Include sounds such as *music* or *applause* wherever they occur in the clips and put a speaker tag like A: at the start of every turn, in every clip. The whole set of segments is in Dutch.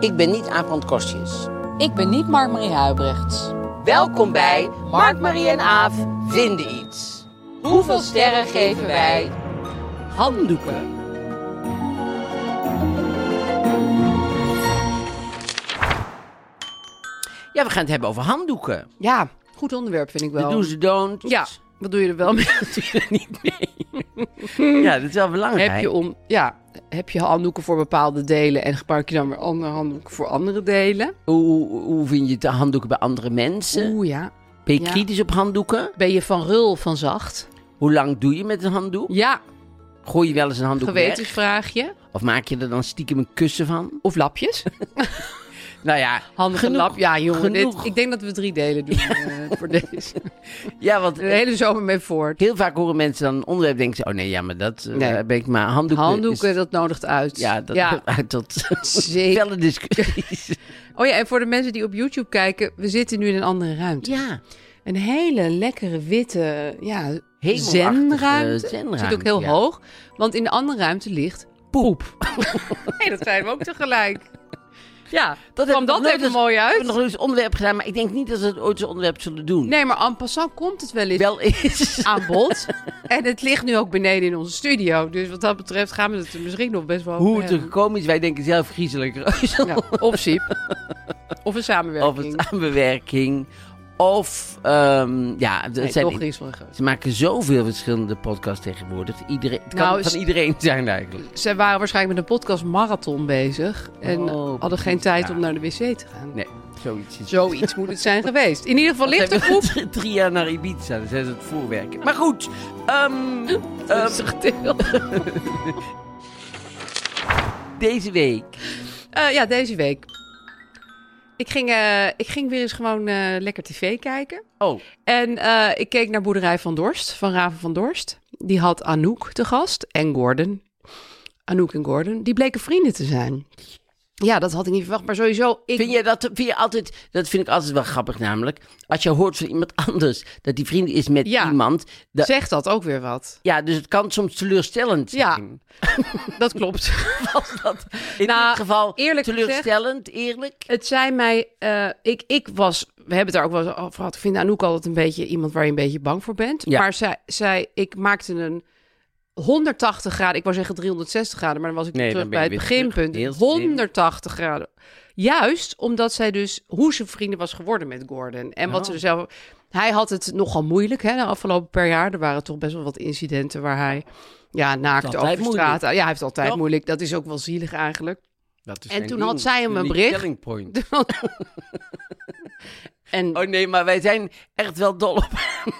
A: Ik ben niet Aaf van Kostjes.
B: Ik ben niet Mark-Marie Huibrechts.
A: Welkom bij Mark, Marie en Aaf vinden iets. Hoeveel sterren geven wij? Handdoeken. Ja, we gaan het hebben over handdoeken.
B: Ja, goed onderwerp vind ik wel.
A: De do's, de don'ts.
B: Ja, wat doe je er wel *laughs* mee? Natuurlijk niet mee.
A: ja, dat is wel belangrijk.
B: Heb je, om, ja, heb je handdoeken voor bepaalde delen en gebruik je dan weer andere handdoeken voor andere delen?
A: hoe, hoe vind je de handdoeken bij andere mensen?
B: Oeh ja.
A: ben je
B: ja.
A: kritisch op handdoeken?
B: Ben je van rul van zacht?
A: Hoe lang doe je met een handdoek?
B: Ja,
A: Gooi je wel eens een handdoek weg?
B: gewetensvraagje.
A: Of maak je er dan stiekem een kussen van?
B: Of *laughs* lapjes.
A: Nou ja,
B: Handige
A: genoeg.
B: lap. Ja, jongen.
A: Genoeg.
B: Dit, ik denk dat we drie delen *laughs* doen eh, voor deze.
A: Ja, want
B: De hele zomer mee voort.
A: heel vaak horen mensen dan een onderwerp denken ze... Oh nee, ja, maar dat eh,
B: Nee.
A: daar ben ik maar. Handdoeken,
B: Handdoeken,
A: is-
B: dat nodigt uit.
A: ja, dat *laughs* uit tot
B: Zeker.
A: felle
B: *laughs*
A: discussies.
B: Oh ja, en voor de mensen die op YouTube kijken, we zitten nu in een andere ruimte.
A: ja,
B: Een hele lekkere witte ja,
A: Hemelachtige
B: zenruimte.
A: zenruimte,
B: Zit ook heel
A: ja.
B: hoog. Want in de andere ruimte ligt poep. *laughs* nee, dat zijn we ook tegelijk. Ja, dat kwam
A: hebben we nog
B: dat
A: nooit
B: even
A: als-
B: mooi
A: we hebben
B: uit.
A: nog nooit eens onderwerp gedaan, maar ik denk niet dat ze het ooit zo'n onderwerp zullen doen.
B: Nee, maar en passant komt het wel eens
A: Wel
B: *laughs*
A: is.
B: aan bod. *laughs* en het ligt nu ook beneden in onze studio. Dus wat dat betreft gaan we het er misschien nog best wel
A: *laughs*
B: over
A: Hoe het er
B: hebben.
A: gekomen is, wij denken zelf griezelig.
B: *laughs*
A: *laughs*
B: Ja, of siep. Of een
A: Of
B: samenwerking.
A: het ah, aanbewerking. Of, ehm, ja, dat
B: Nee,
A: zijn,
B: toch griezeliger.
A: ze maken zoveel verschillende podcasts tegenwoordig. Iedereen, het kan
B: Nou,
A: van
B: is-
A: iedereen zijn eigenlijk.
B: Ze waren waarschijnlijk met een podcast marathon bezig. En
A: Oh,
B: hadden geen
A: precies,
B: tijd
A: ja.
B: om naar de wc te gaan.
A: Nee, zoiets is
B: Zoiets moet het zijn geweest. In ieder geval ligt de
A: Ze hebben
B: groep.
A: drie- *laughs* Drie jaar naar Ibiza, dan zijn ze het voorwerken. Maar goed, ehm, ehm,
B: Rustig deel.
A: deze week.
B: Eh, ja, deze week. Ik ging, eh, ik ging weer eens gewoon eh, lekker tv kijken.
A: Oh,
B: En eh, ik keek naar Boerderij van Dorst, van Raven van Dorst. Die had Anouk te gast en Gordon. Anouk en Gordon, die bleken vrienden te zijn. Ja, dat had ik niet verwacht, maar sowieso... Ik...
A: vind je dat vind je altijd, dat vind ik altijd wel grappig namelijk. Als je hoort van iemand *laughs* anders dat die vriend is met
B: Ja.
A: iemand. dat-
B: Zegt dat ook weer wat?
A: ja, dus het kan soms teleurstellend
B: Ja.
A: zijn.
B: Dat
A: *laughs*
B: klopt.
A: Was dat in
B: Nou,
A: dit geval
B: eerlijk gezegd-
A: teleurstellend, eerlijk?
B: Het zijn mij, eh, ik, ik was, we hebben het daar ook wel eens over gehad. Ik vind Anouk altijd een beetje iemand waar je een beetje bang voor bent.
A: Ja.
B: Maar zij, zij, ik maakte een 180 graden, ik wou zeggen 360 graden, maar dan was ik
A: Nee,
B: terug
A: dan ben
B: bij
A: je
B: het
A: weer terug.
B: beginpunt.
A: Heel slim.
B: 180 graden. Juist omdat zij dus, hoe ze vrienden was geworden met Gordon. En wat ze
A: Oh.
B: er zelf, hij had het nogal moeilijk hè, de afgelopen per jaar. Er waren toch best wel wat incidenten waar hij, ja, naakt
A: altijd
B: over straat.
A: moeilijk.
B: Ja, hij heeft het altijd
A: Toch? Dus
B: moeilijk. Dat is ook wel zielig eigenlijk.
A: Dat is
B: En
A: mijn
B: toen had
A: ding,
B: zij hem een
A: unique
B: bericht.
A: selling point.
B: *laughs* En
A: Oh nee, maar wij zijn echt wel dol op hem.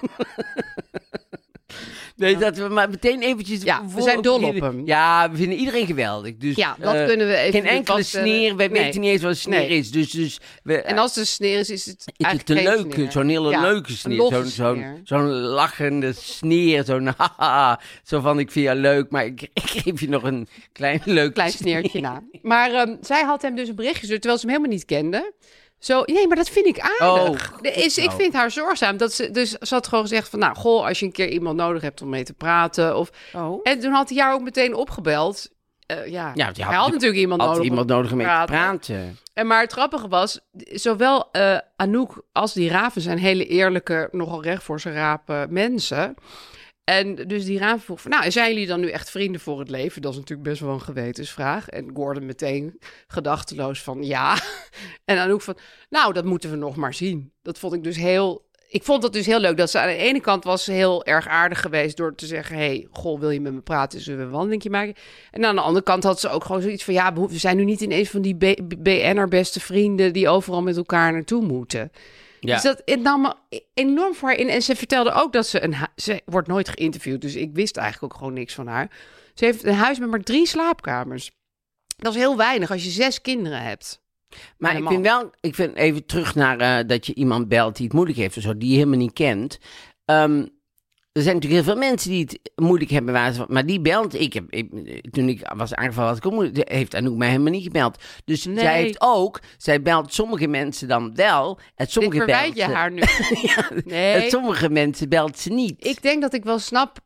A: Nee, dat we maar meteen eventjes...
B: Ja, we
A: voor-
B: zijn dol op hem.
A: Ja, we vinden iedereen geweldig. Dus,
B: Ja, dat
A: eh,
B: kunnen we even
A: Geen
B: nu
A: enkele
B: vaststellen.
A: sneer. Wij
B: Nee.
A: weten niet eens wat een sneer
B: Nee.
A: is. Dus, dus we, eh,
B: En als de sneer is, is het
A: is het een
B: eigenlijk geen
A: leuke,
B: sneer.
A: zo'n hele
B: Ja,
A: leuke
B: een
A: sneer.
B: logge
A: Zo'n zo'n
B: sneer.
A: zo'n lachende sneer. Zo'n *laughs* haha. Zo van, ik vind jou leuk, maar ik, *laughs* ik geef je nog een klein leuk
B: Klein
A: *laughs*
B: sneertje na. Maar ehm, zij had hem dus een berichtje gestuurd, terwijl ze hem helemaal niet kende. Zo, nee, maar dat vind ik aardig.
A: Oh,
B: Er is, ik
A: nou.
B: vind haar zorgzaam. Dat ze, dus ze had gewoon gezegd van, nou, goh, als je een keer iemand nodig hebt om mee te praten. Of...
A: Oh.
B: En toen had hij haar ook meteen opgebeld. Eh, ja.
A: Ja, die
B: hij had natuurlijk iemand
A: had
B: nodig. om
A: iemand nodig om mee te
B: praten.
A: praten.
B: En maar het grappige was, zowel eh, Anouk als die raven zijn hele eerlijke, nogal recht voor zijn rapen mensen. En dus die raam vroeg van, nou, zijn jullie dan nu echt vrienden voor het leven? Dat is natuurlijk best wel een gewetensvraag. En Gordon meteen gedachteloos van, ja. *laughs* En Anouk van, nou, dat moeten we nog maar zien. Dat vond ik dus heel... Ik vond dat dus heel leuk dat ze aan de ene kant was ze heel erg aardig geweest door te zeggen... hey, goh, wil je met me praten? Zullen we een wandelingje maken? En aan de andere kant had ze ook gewoon zoiets van... ja, we zijn nu niet ineens van die B- B- BN'er beste vrienden... die overal met elkaar naartoe moeten.
C: Ja.
B: Dus dat het nam me enorm voor haar in. En ze vertelde ook dat ze een... hu- Ze wordt nooit geïnterviewd, dus ik wist eigenlijk ook gewoon niks van haar. Ze heeft een huis met maar drie slaapkamers. Dat is heel weinig als je zes kinderen hebt.
A: Maar ik
B: Helemaal.
A: vind wel, ik vind even terug naar eh, dat je iemand belt die het moeilijk heeft of zo, die je helemaal niet kent. Ehm, er zijn natuurlijk heel veel mensen die het moeilijk hebben, waar ze- maar die belt. Ik heb, ik- toen ik was aangevallen, had ik ook moeilijk, heeft Anouk mij helemaal niet gebeld. Dus
B: Nee.
A: zij heeft ook, zij belt sommige mensen dan wel en
B: Dit
A: sommige
B: verwijt
A: belt
B: je
A: ze-
B: haar nu.
A: Ja, en
B: Nee.
A: sommige mensen belt ze niet. Dus
B: Ik denk dat ik wel snap.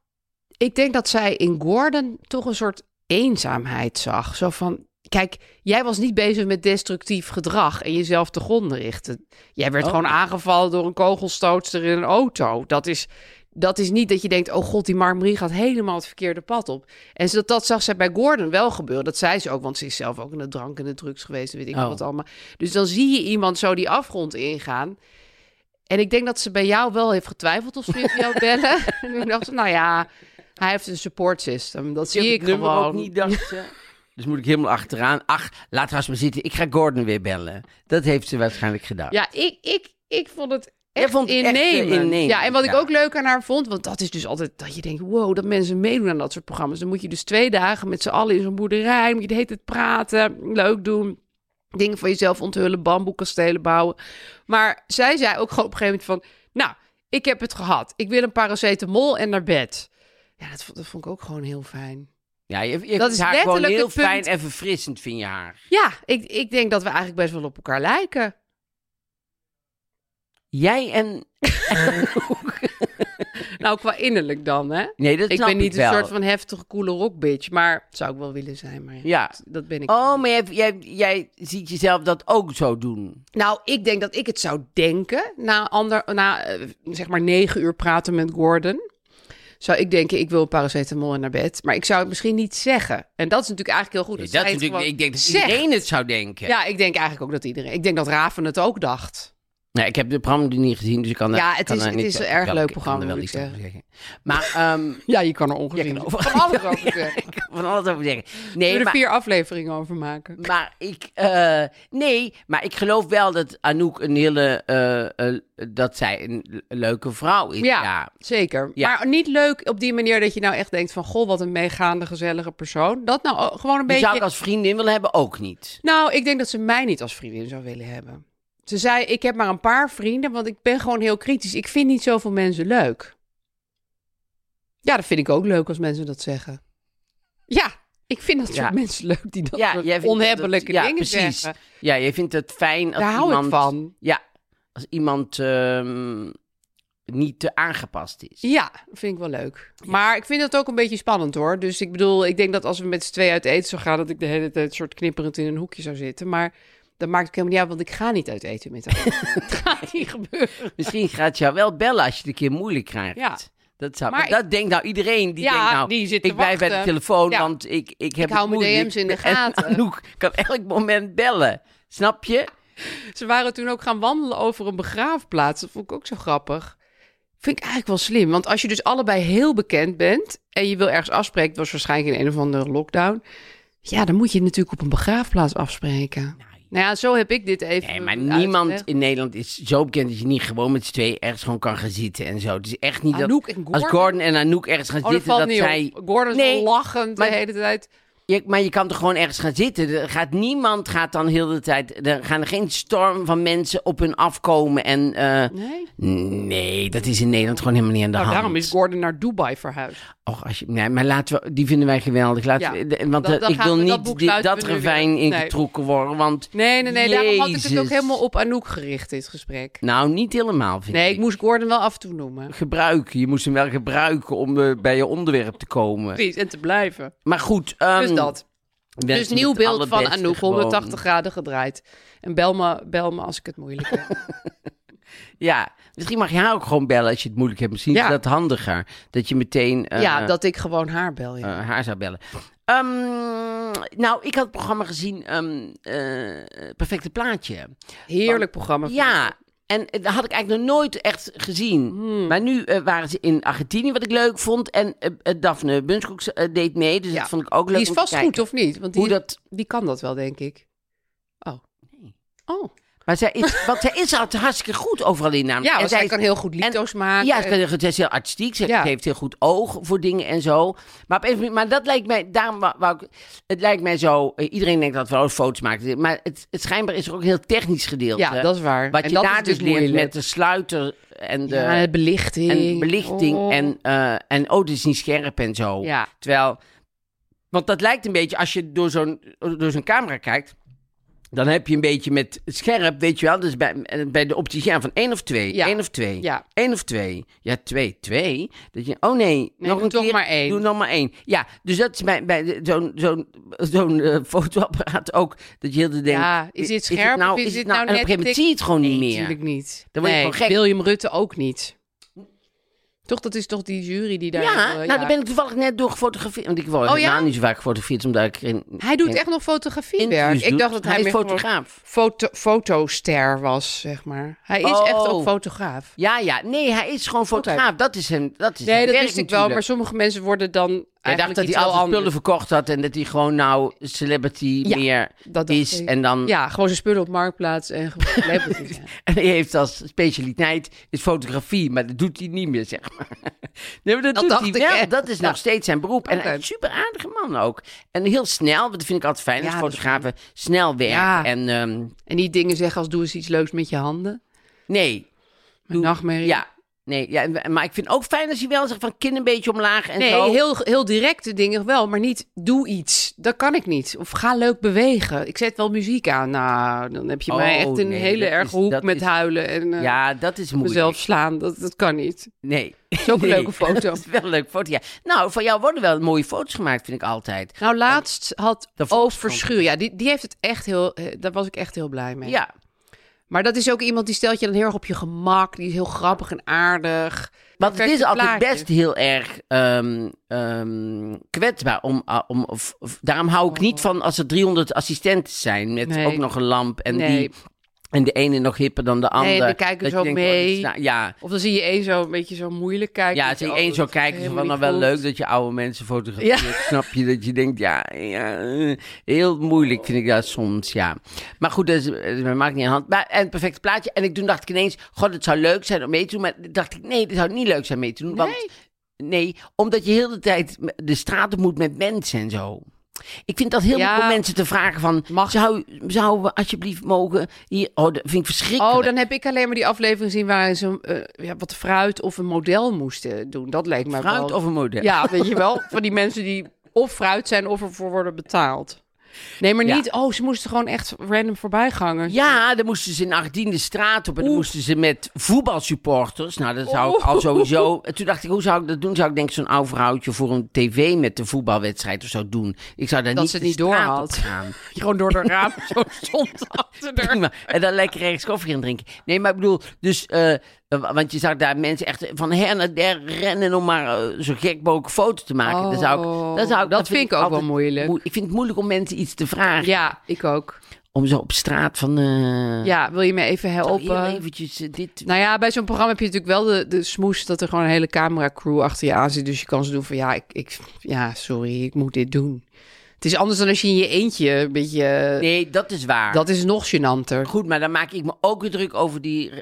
B: Ik denk dat zij in Gordon toch een soort eenzaamheid zag. Zo van. Kijk, jij was niet bezig met destructief gedrag en jezelf te gronden richten. Jij werd
C: Oh.
B: gewoon aangevallen door een kogelstootster in een auto. Dat is, dat is niet dat je denkt: oh god, die Marmarie gaat helemaal het verkeerde pad op. En ze- dat, dat zag zij bij Gordon wel gebeuren. Dat zei ze ook, want ze is zelf ook in de drank en de drugs geweest en weet ik
A: Oh.
B: wat allemaal. Dus dan zie je iemand zo die afgrond ingaan. En ik denk dat ze bij jou wel heeft getwijfeld of ze weer
A: *laughs*
B: jou bellen. en toen dacht ze, nou ja, hij heeft een support system. Dat
A: heb
B: zie ik
A: het nummer
B: gewoon.
A: ook niet,
B: *laughs*
A: dacht ze. Dus moet ik helemaal achteraan. Ach, laat haar eens maar zitten. Ik ga Gordon weer bellen. Dat heeft ze waarschijnlijk gedaan.
B: Ja, ik, ik, ik vond het
A: Jij
B: echt
A: vond het echt, eh,
B: innemend.
A: innemend,
B: Ja, en wat ik
A: ja.
B: ook leuk aan haar vond, want dat is dus altijd dat je denkt, wow, dat mensen meedoen aan dat soort programma's. Dan moet je dus twee dagen met z'n allen in zo'n boerderij, moet je de hele tijd praten, leuk doen. Dingen van jezelf onthullen, bamboekastelen bouwen. Maar zij zei ook gewoon op een gegeven moment van... Nou, ik heb het gehad. Ik wil een paracetamol en naar bed. Ja, dat vond, dat vond ik ook gewoon heel fijn.
A: Ja, je, je
B: Dat
A: dat
B: is
A: is haar gewoon
B: letterlijk
A: heel
B: het punt.
A: fijn en verfrissend, vind je haar.
B: Ja, ik, ik denk dat we eigenlijk best wel op elkaar lijken.
A: Jij en...
B: Nou, qua innerlijk dan, hè?
A: Nee, dat
B: ik
A: snap
B: ben niet
A: wel.
B: een soort van heftige, coole rockbitch, maar zou ik wel willen zijn. Maar ja,
A: Ja.
B: dat- dat ben ik.
A: Oh, maar jij, jij, jij ziet jezelf dat ook zo doen.
B: Nou, ik denk dat ik het zou denken na, ander, na eh, zeg maar negen uur praten met Gordon. Zou ik denken, ik wil paracetamol en naar bed. Maar ik zou het misschien niet zeggen. En dat is natuurlijk eigenlijk heel goed.
A: Nee,
B: zij
A: dat is
B: het
A: natuurlijk,
B: gewoon
A: ik denk dat
B: zegt.
A: iedereen het zou denken.
B: Ja, ik denk eigenlijk ook dat iedereen. Ik denk dat Raven het ook dacht.
A: Nee, Nou, ik heb de programma nog niet gezien, dus ik kan daar-
B: Ja, het
A: kan
B: is-
A: daar
B: het
A: niet-
B: is een
A: ik
B: erg
A: kan-
B: leuk
A: ik kan er
B: programma,
A: wel
B: moet
A: iets
B: ik
A: over zeggen. Maar ehm, *laughs*
B: Ja, je kan er
A: Ja, ik
B: ongezien
A: kan
B: over.
A: over-
B: Van *laughs* alles over zeggen.
A: ik kan van alles over zeggen.
B: We
A: Nee,
B: er
A: maar,
B: vier afleveringen over maken.
A: maar ik, eh, nee, maar ik geloof wel dat Anouk een hele, eh, eh, dat zij een le- leuke vrouw is.
B: Ja,
A: ja.
B: zeker.
A: Ja.
B: Maar niet leuk op die manier dat je nou echt denkt van... goh, wat een meegaande, gezellige persoon. Dat nou ook gewoon
A: Die
B: een beetje...
A: zou ik als vriendin willen hebben, ook niet.
B: Nou, ik denk dat ze mij niet als vriendin zou willen hebben. Ze zei, ik heb maar een paar vrienden, want ik ben gewoon heel kritisch. Ik vind niet zoveel mensen leuk. Ja, dat vind ik ook leuk als mensen dat zeggen. Ja, ik vind dat soort
A: Ja.
B: mensen leuk die dat
A: Ja,
B: soort
A: jij vindt dat-
B: onhebbelijke
A: ja,
B: dingen
A: precies.
B: zeggen.
A: Ja, je vindt het fijn als
B: Daar hou
A: iemand,
B: ik van.
A: Ja, als iemand ehm, niet te aangepast is.
B: Ja, dat vind ik wel leuk. Maar ik vind dat ook een beetje spannend hoor. Dus ik bedoel, ik denk dat als we met z'n twee uit eten zouden gaan, dat ik de hele tijd soort knipperend in een hoekje zou zitten. Maar dat maakt het helemaal niet uit, want ik ga niet uit eten met
A: *laughs*
B: haar. dat gaat niet gebeuren.
A: Misschien gaat jou wel bellen als je het een keer moeilijk krijgt.
B: Ja.
A: Dat, zou,
B: Maar
A: dat denkt nou iedereen. Die
B: Ja,
A: denkt nou,
B: die zit te
A: ik blijf bij de
B: wachten.
A: telefoon,
B: Ja.
A: want ik, ik heb
B: Ik hou
A: het
B: mijn
A: moeilijk.
B: DM's in de
A: *laughs* En
B: gaten.
A: Anouk kan elk moment bellen. Snap je?
B: Ze waren toen ook gaan wandelen over een begraafplaats. Dat vond ik ook zo grappig. Vind ik eigenlijk wel slim. Want als je dus allebei heel bekend bent en je wil ergens afspreken, het was waarschijnlijk in een of andere lockdown. Ja, dan moet je natuurlijk op een begraafplaats afspreken. Nou ja, zo heb ik dit even.
A: Nee, maar
B: uitgelegd.
A: niemand in Nederland is zo bekend dat je niet gewoon met z'n tweeën ergens gewoon kan gaan zitten en zo. Het is echt niet
B: Anouk
A: dat
B: en
A: als
B: Gordon?
A: Gordon en Anouk ergens gaan
B: Oh, dat
A: zitten,
B: valt
A: dat
B: niet
A: zij...
B: op. Gordon is
A: Nee,
B: lachend
A: maar-
B: de hele tijd.
A: Je- maar je kan toch gewoon ergens gaan zitten. Er gaat niemand gaat dan heel de tijd. Er gaan er geen storm van mensen op hun afkomen. En eh,
B: Nee?
A: nee, dat is in Nederland gewoon helemaal niet aan de
B: Nou,
A: hand.
B: daarom is Gordon naar Dubai verhuisd.
A: Och, als je, nee, maar laten we, die vinden wij geweldig. Laten
B: Ja.
A: we- de- want
B: Dan-
A: eh,
B: dan
A: ik
B: gaan
A: wil
B: we- dat
A: niet
B: boek
A: dit-
B: sluiten
A: dat
B: we nu
A: ravijn
B: weer. Nee.
A: ingetrokken worden. Want
B: Nee, nee, nee. Daarom had ik het ook
A: Jezus.
B: helemaal op Anouk gericht, dit gesprek.
A: nou, niet helemaal vind
B: Nee,
A: ik.
B: ik moest Gordon wel af en toe noemen.
A: gebruiken. Je moest hem wel gebruiken om eh, bij je onderwerp te komen.
B: Precies, en te blijven.
A: Maar goed. ehm,
B: Dus dat.
A: wensen
B: Dus
A: met
B: nieuw
A: het
B: beeld van
A: allerbeste
B: Anouk,
A: gewoon. *laughs*
B: 180 graden gedraaid. En bel me, bel me als ik het moeilijk heb.
A: Ja, misschien mag je haar ook gewoon bellen als je het moeilijk hebt. Misschien
B: Ja.
A: is dat handiger. Dat je meteen eh,
B: ja, dat ik gewoon haar bel. Ja.
A: eh, haar zou bellen. Ehm, nou, ik had het programma gezien, ehm, eh, Perfecte Plaatje.
B: Heerlijk programma.
A: Ja, en eh, dat had ik eigenlijk nog nooit echt gezien.
B: Hmm.
A: Maar nu eh, waren ze in Argentinië, wat ik leuk vond. En eh, eh, Daphne Bunskoek eh, deed mee, dus
B: Ja.
A: dat vond ik ook leuk
B: Die is
A: om te
B: vast
A: kijken.
B: goed, of niet? Want die,
A: Hoe dat-
B: die kan dat wel, denk ik. Oh. Oh.
A: Maar zij is, want zij is altijd hartstikke goed overal in. Namelijk.
B: Ja, want zij
A: is-
B: kan heel goed liedjes maken.
A: Ja, ze, kan heel goed- zij is heel artistiek. Ze
B: Ja.
A: heeft heel goed oog voor dingen en zo. Maar, op een of andere- maar dat lijkt mij, daarom wou, wou ik, het lijkt mij zo, eh, iedereen denkt dat we ook foto's maken. Maar het, het schijnbaar is er ook een heel technisch gedeelte.
B: Ja, dat is waar.
A: eh, Wat
B: En
A: je
B: dat
A: daar
B: is
A: dus
B: dus
A: leert
B: moeilijk.
A: met de sluiter en de...
B: Ja, en belichting.
A: En belichting
B: Oh.
A: en, oh, eh, en oh, dit is niet scherp en zo.
B: Ja.
A: Terwijl, want dat lijkt een beetje, als je door zo'n, door zo'n camera kijkt, dan heb je een beetje met scherp, weet je wel, dus bij, eh, bij de opticien van één of twee,
B: Ja.
A: één of twee,
B: Ja.
A: één of twee, ja, twee, twee. Dat je, oh nee, nog
B: doe
A: een
B: toch
A: keer,
B: maar één.
A: Doe nog maar één. Ja, dus dat is bij, bij de- zo'n, zo'n, zo'n eh, *laughs* fotoapparaat ook, dat je heel de tijd denkt,
B: Ja, is dit scherp
A: nou,
B: of is dit nou
A: En op een
B: net
A: gegeven moment
B: tik?
A: zie je het gewoon niet
B: Nee,
A: meer.
B: Natuurlijk niet.
A: Dan word je
B: nee,
A: gewoon gek.
B: William Rutte ook niet. Toch, dat is toch die jury die daar...
A: Ja,
B: eh,
A: nou, daar ben ik toevallig net door gefotografeerd. Want ik word
B: Oh,
A: helemaal
B: ja?
A: niet zo vaak gefotografeerd, omdat ik geen...
B: Hij doet
A: geen
B: echt nog fotografiewerk.
A: interviews
B: Ik
A: doe.
B: dacht dat hij,
A: is
B: meer gewoon
A: fotograaf.
B: foto, fotoster was, zeg maar. Hij is echt
A: Oh.
B: ook fotograaf.
A: Ja, ja. Nee, hij is gewoon fotograaf. Dat is hem. Dat is
B: Nee,
A: zijn
B: dat
A: werk
B: wist ik wel.
A: natuurlijk.
B: Maar sommige mensen worden dan
A: Hij dacht
B: eigenlijk
A: dat hij
B: iets heel
A: al zijn spullen
B: anders.
A: verkocht had en dat hij gewoon nou celebrity
B: Ja,
A: meer
B: dat dacht
A: is.
B: ik.
A: En dan
B: Ja, gewoon zijn spullen op Marktplaats en gewoon celebrity zijn.
A: *laughs* en hij heeft als specialiteit is fotografie, maar dat doet hij niet meer, zeg maar. *laughs* Nee, maar dat,
B: Dat
A: doet
B: dacht
A: hij
B: ik
A: wel.
B: echt.
A: Dat is
B: Ja.
A: nog steeds zijn beroep. En
B: Oké.
A: hij is een super aardige man ook. En heel snel, want dat vind ik altijd fijn,
B: Ja,
A: als
B: dat is
A: fotografen snel werken.
B: Ja.
A: En ehm,
B: En niet dingen zeggen als doe eens iets leuks met je handen.
A: nee,
B: Een nachtmerrie.
A: Ja, nee, ja, en- maar ik vind ook fijn als hij wel zegt van kin een beetje omlaag en
B: Nee,
A: zo.
B: heel, heel directe dingen wel, maar niet doe iets. Dat kan ik niet. Of ga leuk bewegen. Ik zet wel muziek aan. Nou, dan heb je
A: Oh,
B: mij echt in een
A: nee,
B: hele
A: dat
B: erge
A: is-
B: hoek
A: dat
B: met
A: is-
B: huilen en eh,
A: Ja, dat is moeilijk.
B: mezelf slaan. Dat, dat kan niet.
A: Nee. *laughs*
B: Zo'n
A: Nee.
B: leuke foto.
A: Dat is wel een leuke foto, ja. Nou, van jou worden wel mooie foto's gemaakt, vind ik altijd.
B: Nou, laatst had
A: Dat vond ik
B: Overschuur. Ja, die, die heeft het echt heel. eh, Daar was ik echt heel blij mee.
A: Ja,
B: Maar dat is ook iemand die stelt je dan heel erg op je gemak. Die is heel grappig en aardig.
A: want het is
B: Perfecte
A: altijd
B: plaatje.
A: best heel erg ehm, ehm, kwetsbaar. Om, ah, om, of, of- daarom hou ik niet van als er 300 assistenten zijn met
B: Oh. Nee.
A: ook nog een lamp en,
B: Nee.
A: die, en de ene nog hipper dan de ander.
B: dan kijken
A: Dat
B: ze
A: je
B: ook
A: denkt, oh, dit
B: mee.
A: is nou- ja,
B: Of dan zie je één zo een beetje zo moeilijk kijken.
A: Ja,
B: Dat
A: als je
B: je,
A: één
B: oh,
A: zo
B: dat
A: kijkt, is het wel,
B: helemaal
A: nou
B: niet
A: wel
B: klopt.
A: leuk dat je oude mensen fotografeert. *laughs* Snap je dat je denkt, ja, ja, eh, heel moeilijk vind ik dat soms, ja. Maar goed, dat, is, eh, dat maakt niet aan de hand. Maar, en het perfecte plaatje. En ik, toen dacht ik ineens, god, het zou leuk zijn om mee te doen. Maar toen dacht ik, nee, het zou niet leuk zijn mee te doen. Want, nee, omdat je heel de tijd de straat op moet met mensen en zo. Ik vind dat heel
B: Ja.
A: moeilijk om mensen te vragen van...
B: Mag-
A: Zou, zou we alsjeblieft mogen... Hier, oh, dat vind ik verschrikkelijk.
B: Oh, dan heb ik alleen maar die aflevering gezien waarin ze eh, ja, wat fruit of een model moesten doen. Dat leek mij
A: Fruit
B: wel.
A: of een model?
B: Ja, weet je wel. Van die mensen die of fruit zijn of ervoor worden betaald. Nee, maar
A: Ja.
B: niet. Oh, ze moesten gewoon echt random voorbijgangers.
A: Ja, dan moesten ze in 18e straat op en dan
B: Oeh.
A: moesten ze met voetbalsupporters. Nou, dat zou ik al
B: Oeh.
A: sowieso. En toen dacht ik, hoe zou ik dat doen? Zou ik denk ik zo'n oud vrouwtje voor een tv met de voetbalwedstrijd of zo doen? Ik zou daar
B: Dat
A: niet
B: ze het
A: de
B: niet door
A: straat op
B: had.
A: gaan.
B: Gewoon door de raam zo stond achter haar.
A: Prima. En dan lekker ergens koffie gaan drinken. Nee, maar ik bedoel, dus, eh, wa- want je zag daar mensen echt van her naar der rennen om maar eh, zo gek mogelijk foto te maken. dan zou ik,
B: Oh,
A: dan zou ik,
B: dat vind ik ook wel
A: altijd
B: moeilijk.
A: moe- ik vind het moeilijk om mensen iets te vragen.
B: *laughs* Ja, ik ook.
A: Om zo op straat van, eh
B: Ja, wil je me even
A: zou
B: helpen?
A: hier eventjes eh, dit
B: Nou ja, bij zo'n programma heb je natuurlijk wel de, de smoes dat er gewoon een hele cameracrew achter je aan zit. Dus je kan ze doen van ja, ik, ik, ja, sorry, ik moet dit doen. Het is anders dan als je in je eentje een beetje.
A: Nou, Nee, dat is waar.
B: Dat is nog gênanter.
A: Goed, maar dan maak ik me ook weer druk over die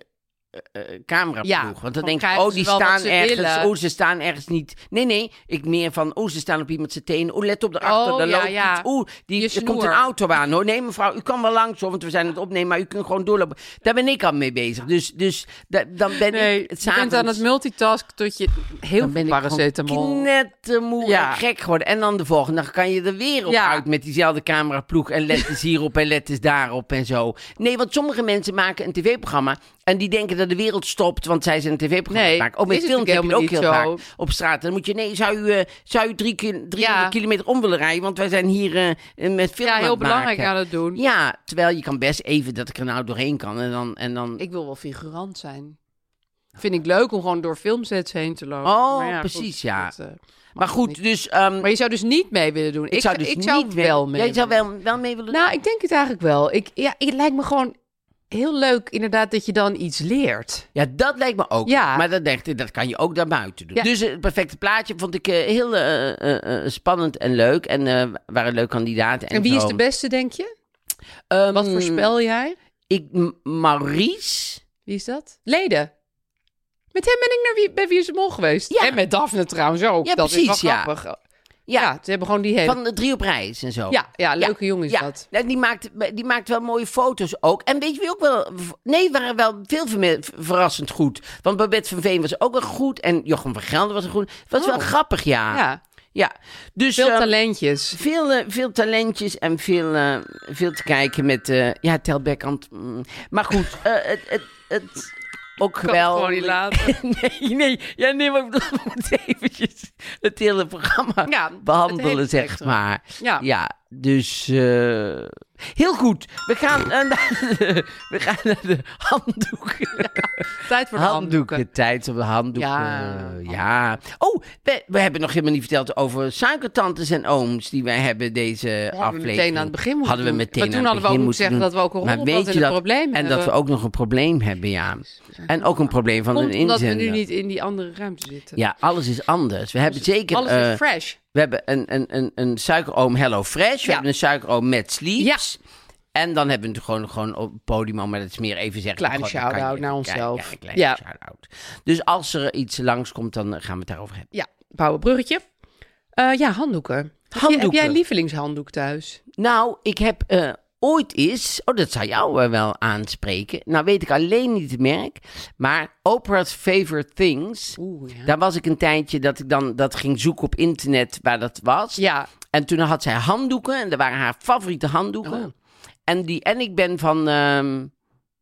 A: eh, eh, cameraploeg.
B: Ja,
A: Want dan
B: dan
A: denk ik,
B: krijgen
A: oh,
B: ze
A: die
B: wel wat
A: staan
B: ze
A: ergens.
B: willen.
A: Oh, ze staan ergens niet. Nee, nee. Ik meer van, oh, ze staan op iemand zijn tenen. Oh, let op de achter.
B: Oh,
A: daar
B: ja,
A: loopt
B: ja.
A: iets. Oeh, die,
B: Je
A: er komt een
B: snoer.
A: auto aan. Hoor. Nee, mevrouw, u kan wel langs, hoor, want we zijn aan het opnemen. Maar u kunt gewoon doorlopen. Daar ben ik al mee bezig. Dus, dus da- dan ben
B: Nee,
A: ik het
B: je bent aan het multitask tot je heel
A: dan ben
B: veel
A: ik
B: paracetamol.
A: gewoon knettermoe en
B: Ja.
A: gek geworden. En dan de volgende dag kan je er weer op
B: Ja.
A: uit met diezelfde cameraploeg. En let eens hierop en let eens daarop en zo. Nee, want sommige mensen maken een tv-programma en die denken dat de wereld stopt, want zij zijn een tv-programma
B: Nee,
A: maken. Ook met
B: is het
A: films heb je het ook heel
B: natuurlijk helemaal
A: vaak
B: niet
A: op straat. Dan moet je, nee, zou u, eh, zou u drie, ki- drie
B: Ja.
A: kilometer om willen rijden? Want wij zijn hier eh, met film
B: Ja,
A: aan
B: heel
A: het
B: belangrijk
A: maken.
B: aan het doen.
A: Ja, terwijl je kan best even dat ik er nou doorheen kan. En dan, en dan
B: Ik wil wel figurant zijn. Vind ik leuk om gewoon door filmsets heen te lopen.
A: Oh,
B: Maar ja,
A: precies,
B: goed,
A: ja.
B: dat, eh,
A: maar
B: mag
A: goed,
B: niet.
A: dus... ehm,
B: Maar je zou dus niet mee willen doen. Ik, zou,
A: dus
B: ik zou
A: niet
B: wel mee.
A: Jij zou
B: willen
A: wel, wel mee willen
B: doen. Nou, ik denk het eigenlijk wel. Ik, ja, het lijkt me gewoon heel leuk inderdaad dat je dan iets leert.
A: Ja, dat lijkt me ook.
B: Ja.
A: Maar dat, dacht ik, dat kan je ook daarbuiten doen.
B: Ja.
A: Dus eh, het perfecte plaatje vond ik eh, heel eh, eh, eh, spannend en leuk. En eh, waren leuke kandidaten. En,
B: En, wie is
A: zo.
B: de beste, denk je?
A: Ehm,
B: Wat voorspel jij?
A: Ik, M- Maurice.
B: Wie is dat? Leden. Met hem ben ik naar wie, bij Wie is de Mol geweest.
A: Ja.
B: En met Daphne trouwens ook.
A: Ja,
B: dat
A: precies,
B: is wel
A: ja.
B: grappig. Ja.
A: Ja,
B: ze hebben gewoon die hele... Oh.
A: van de drie op reis en zo.
B: Ja, ja, leuke jongen is
A: ja.
B: dat.
A: Nou, Die maakt, die maakt wel mooie foto's ook. En weet je wie ook wel... Nee, waren wel veel verme- verrassend goed. Want Babette van Veen was ook wel goed. En Jochem van Gelder was goed. was wel
B: Oh.
A: grappig, ja.
B: Ja,
A: Ja. Dus,
B: veel
A: ehm,
B: talentjes.
A: Veel, eh, veel talentjes en veel, eh, veel te kijken met... eh, ja, telbekant. maar goed, eh, het, het, het, ook
B: Kan
A: *laughs*
B: het
A: geweldig.
B: gewoon niet laten.
A: *laughs* nee, nee. Ja, nee, maar ik bedoel, we moeten eventjes het hele programma
B: Ja, het hele
A: behandelen, zeg
B: spectrum.
A: maar.
B: Ja.
A: dus... eh, heel goed. We gaan, eh, *laughs* naar, de, we gaan naar de handdoeken.
B: Tijd voor de handdoeken.
A: Handdoeken, tijd op de handdoeken.
B: Ja,
A: Ja. Oh, we, we hebben nog helemaal niet verteld over suikertantes en ooms die wij hebben deze
B: Hadden
A: aflevering.
B: we meteen aan het begin moeten
A: Hadden we
B: doen.
A: meteen
B: Maar toen
A: aan het
B: hadden
A: begin
B: we ook moeten
A: moeten
B: zeggen
A: doen.
B: dat we ook een
A: Maar
B: rollenband
A: weet
B: en
A: je
B: een
A: dat-
B: probleem
A: En dat
B: hebben.
A: we ook nog een probleem hebben, ja. En ook een probleem van
B: Komt
A: een
B: omdat we
A: inzender.
B: nu niet in die andere ruimte zitten.
A: Ja, alles is anders. We hebben zeker...
B: Alles
A: eh,
B: is fresh.
A: we hebben een, een, een, een suikeroom Hello Fresh. We
B: Ja.
A: hebben een suikeroom met Sleeps. En dan hebben we het gewoon, gewoon op het podium, al, maar dat is meer even zeggen.
B: Kleine
A: Gewoon, dan kan je
B: shout-out
A: even
B: naar
A: kijken.
B: onszelf.
A: Ja, een kleine
B: Ja.
A: shout-out. Dus als er iets langskomt, dan eh, gaan we het daarover hebben.
B: Ja, bouw een bruggetje. Eh, ja, handdoeken. Heb je- Heb
A: Handdoeken.
B: jij een lievelingshanddoek thuis?
A: Nou, ik heb eh, ooit eens... Oh, dat zou jou eh, wel aanspreken. Nou weet ik alleen niet het merk. Maar Oprah's Favorite Things.
B: Oeh, ja.
A: Daar was ik een tijdje dat ik dan dat ging zoeken op internet waar dat was.
B: Ja,
A: En toen had zij handdoeken. En dat waren haar favoriete handdoeken.
B: Oh.
A: En, die, en ik ben van... ehm,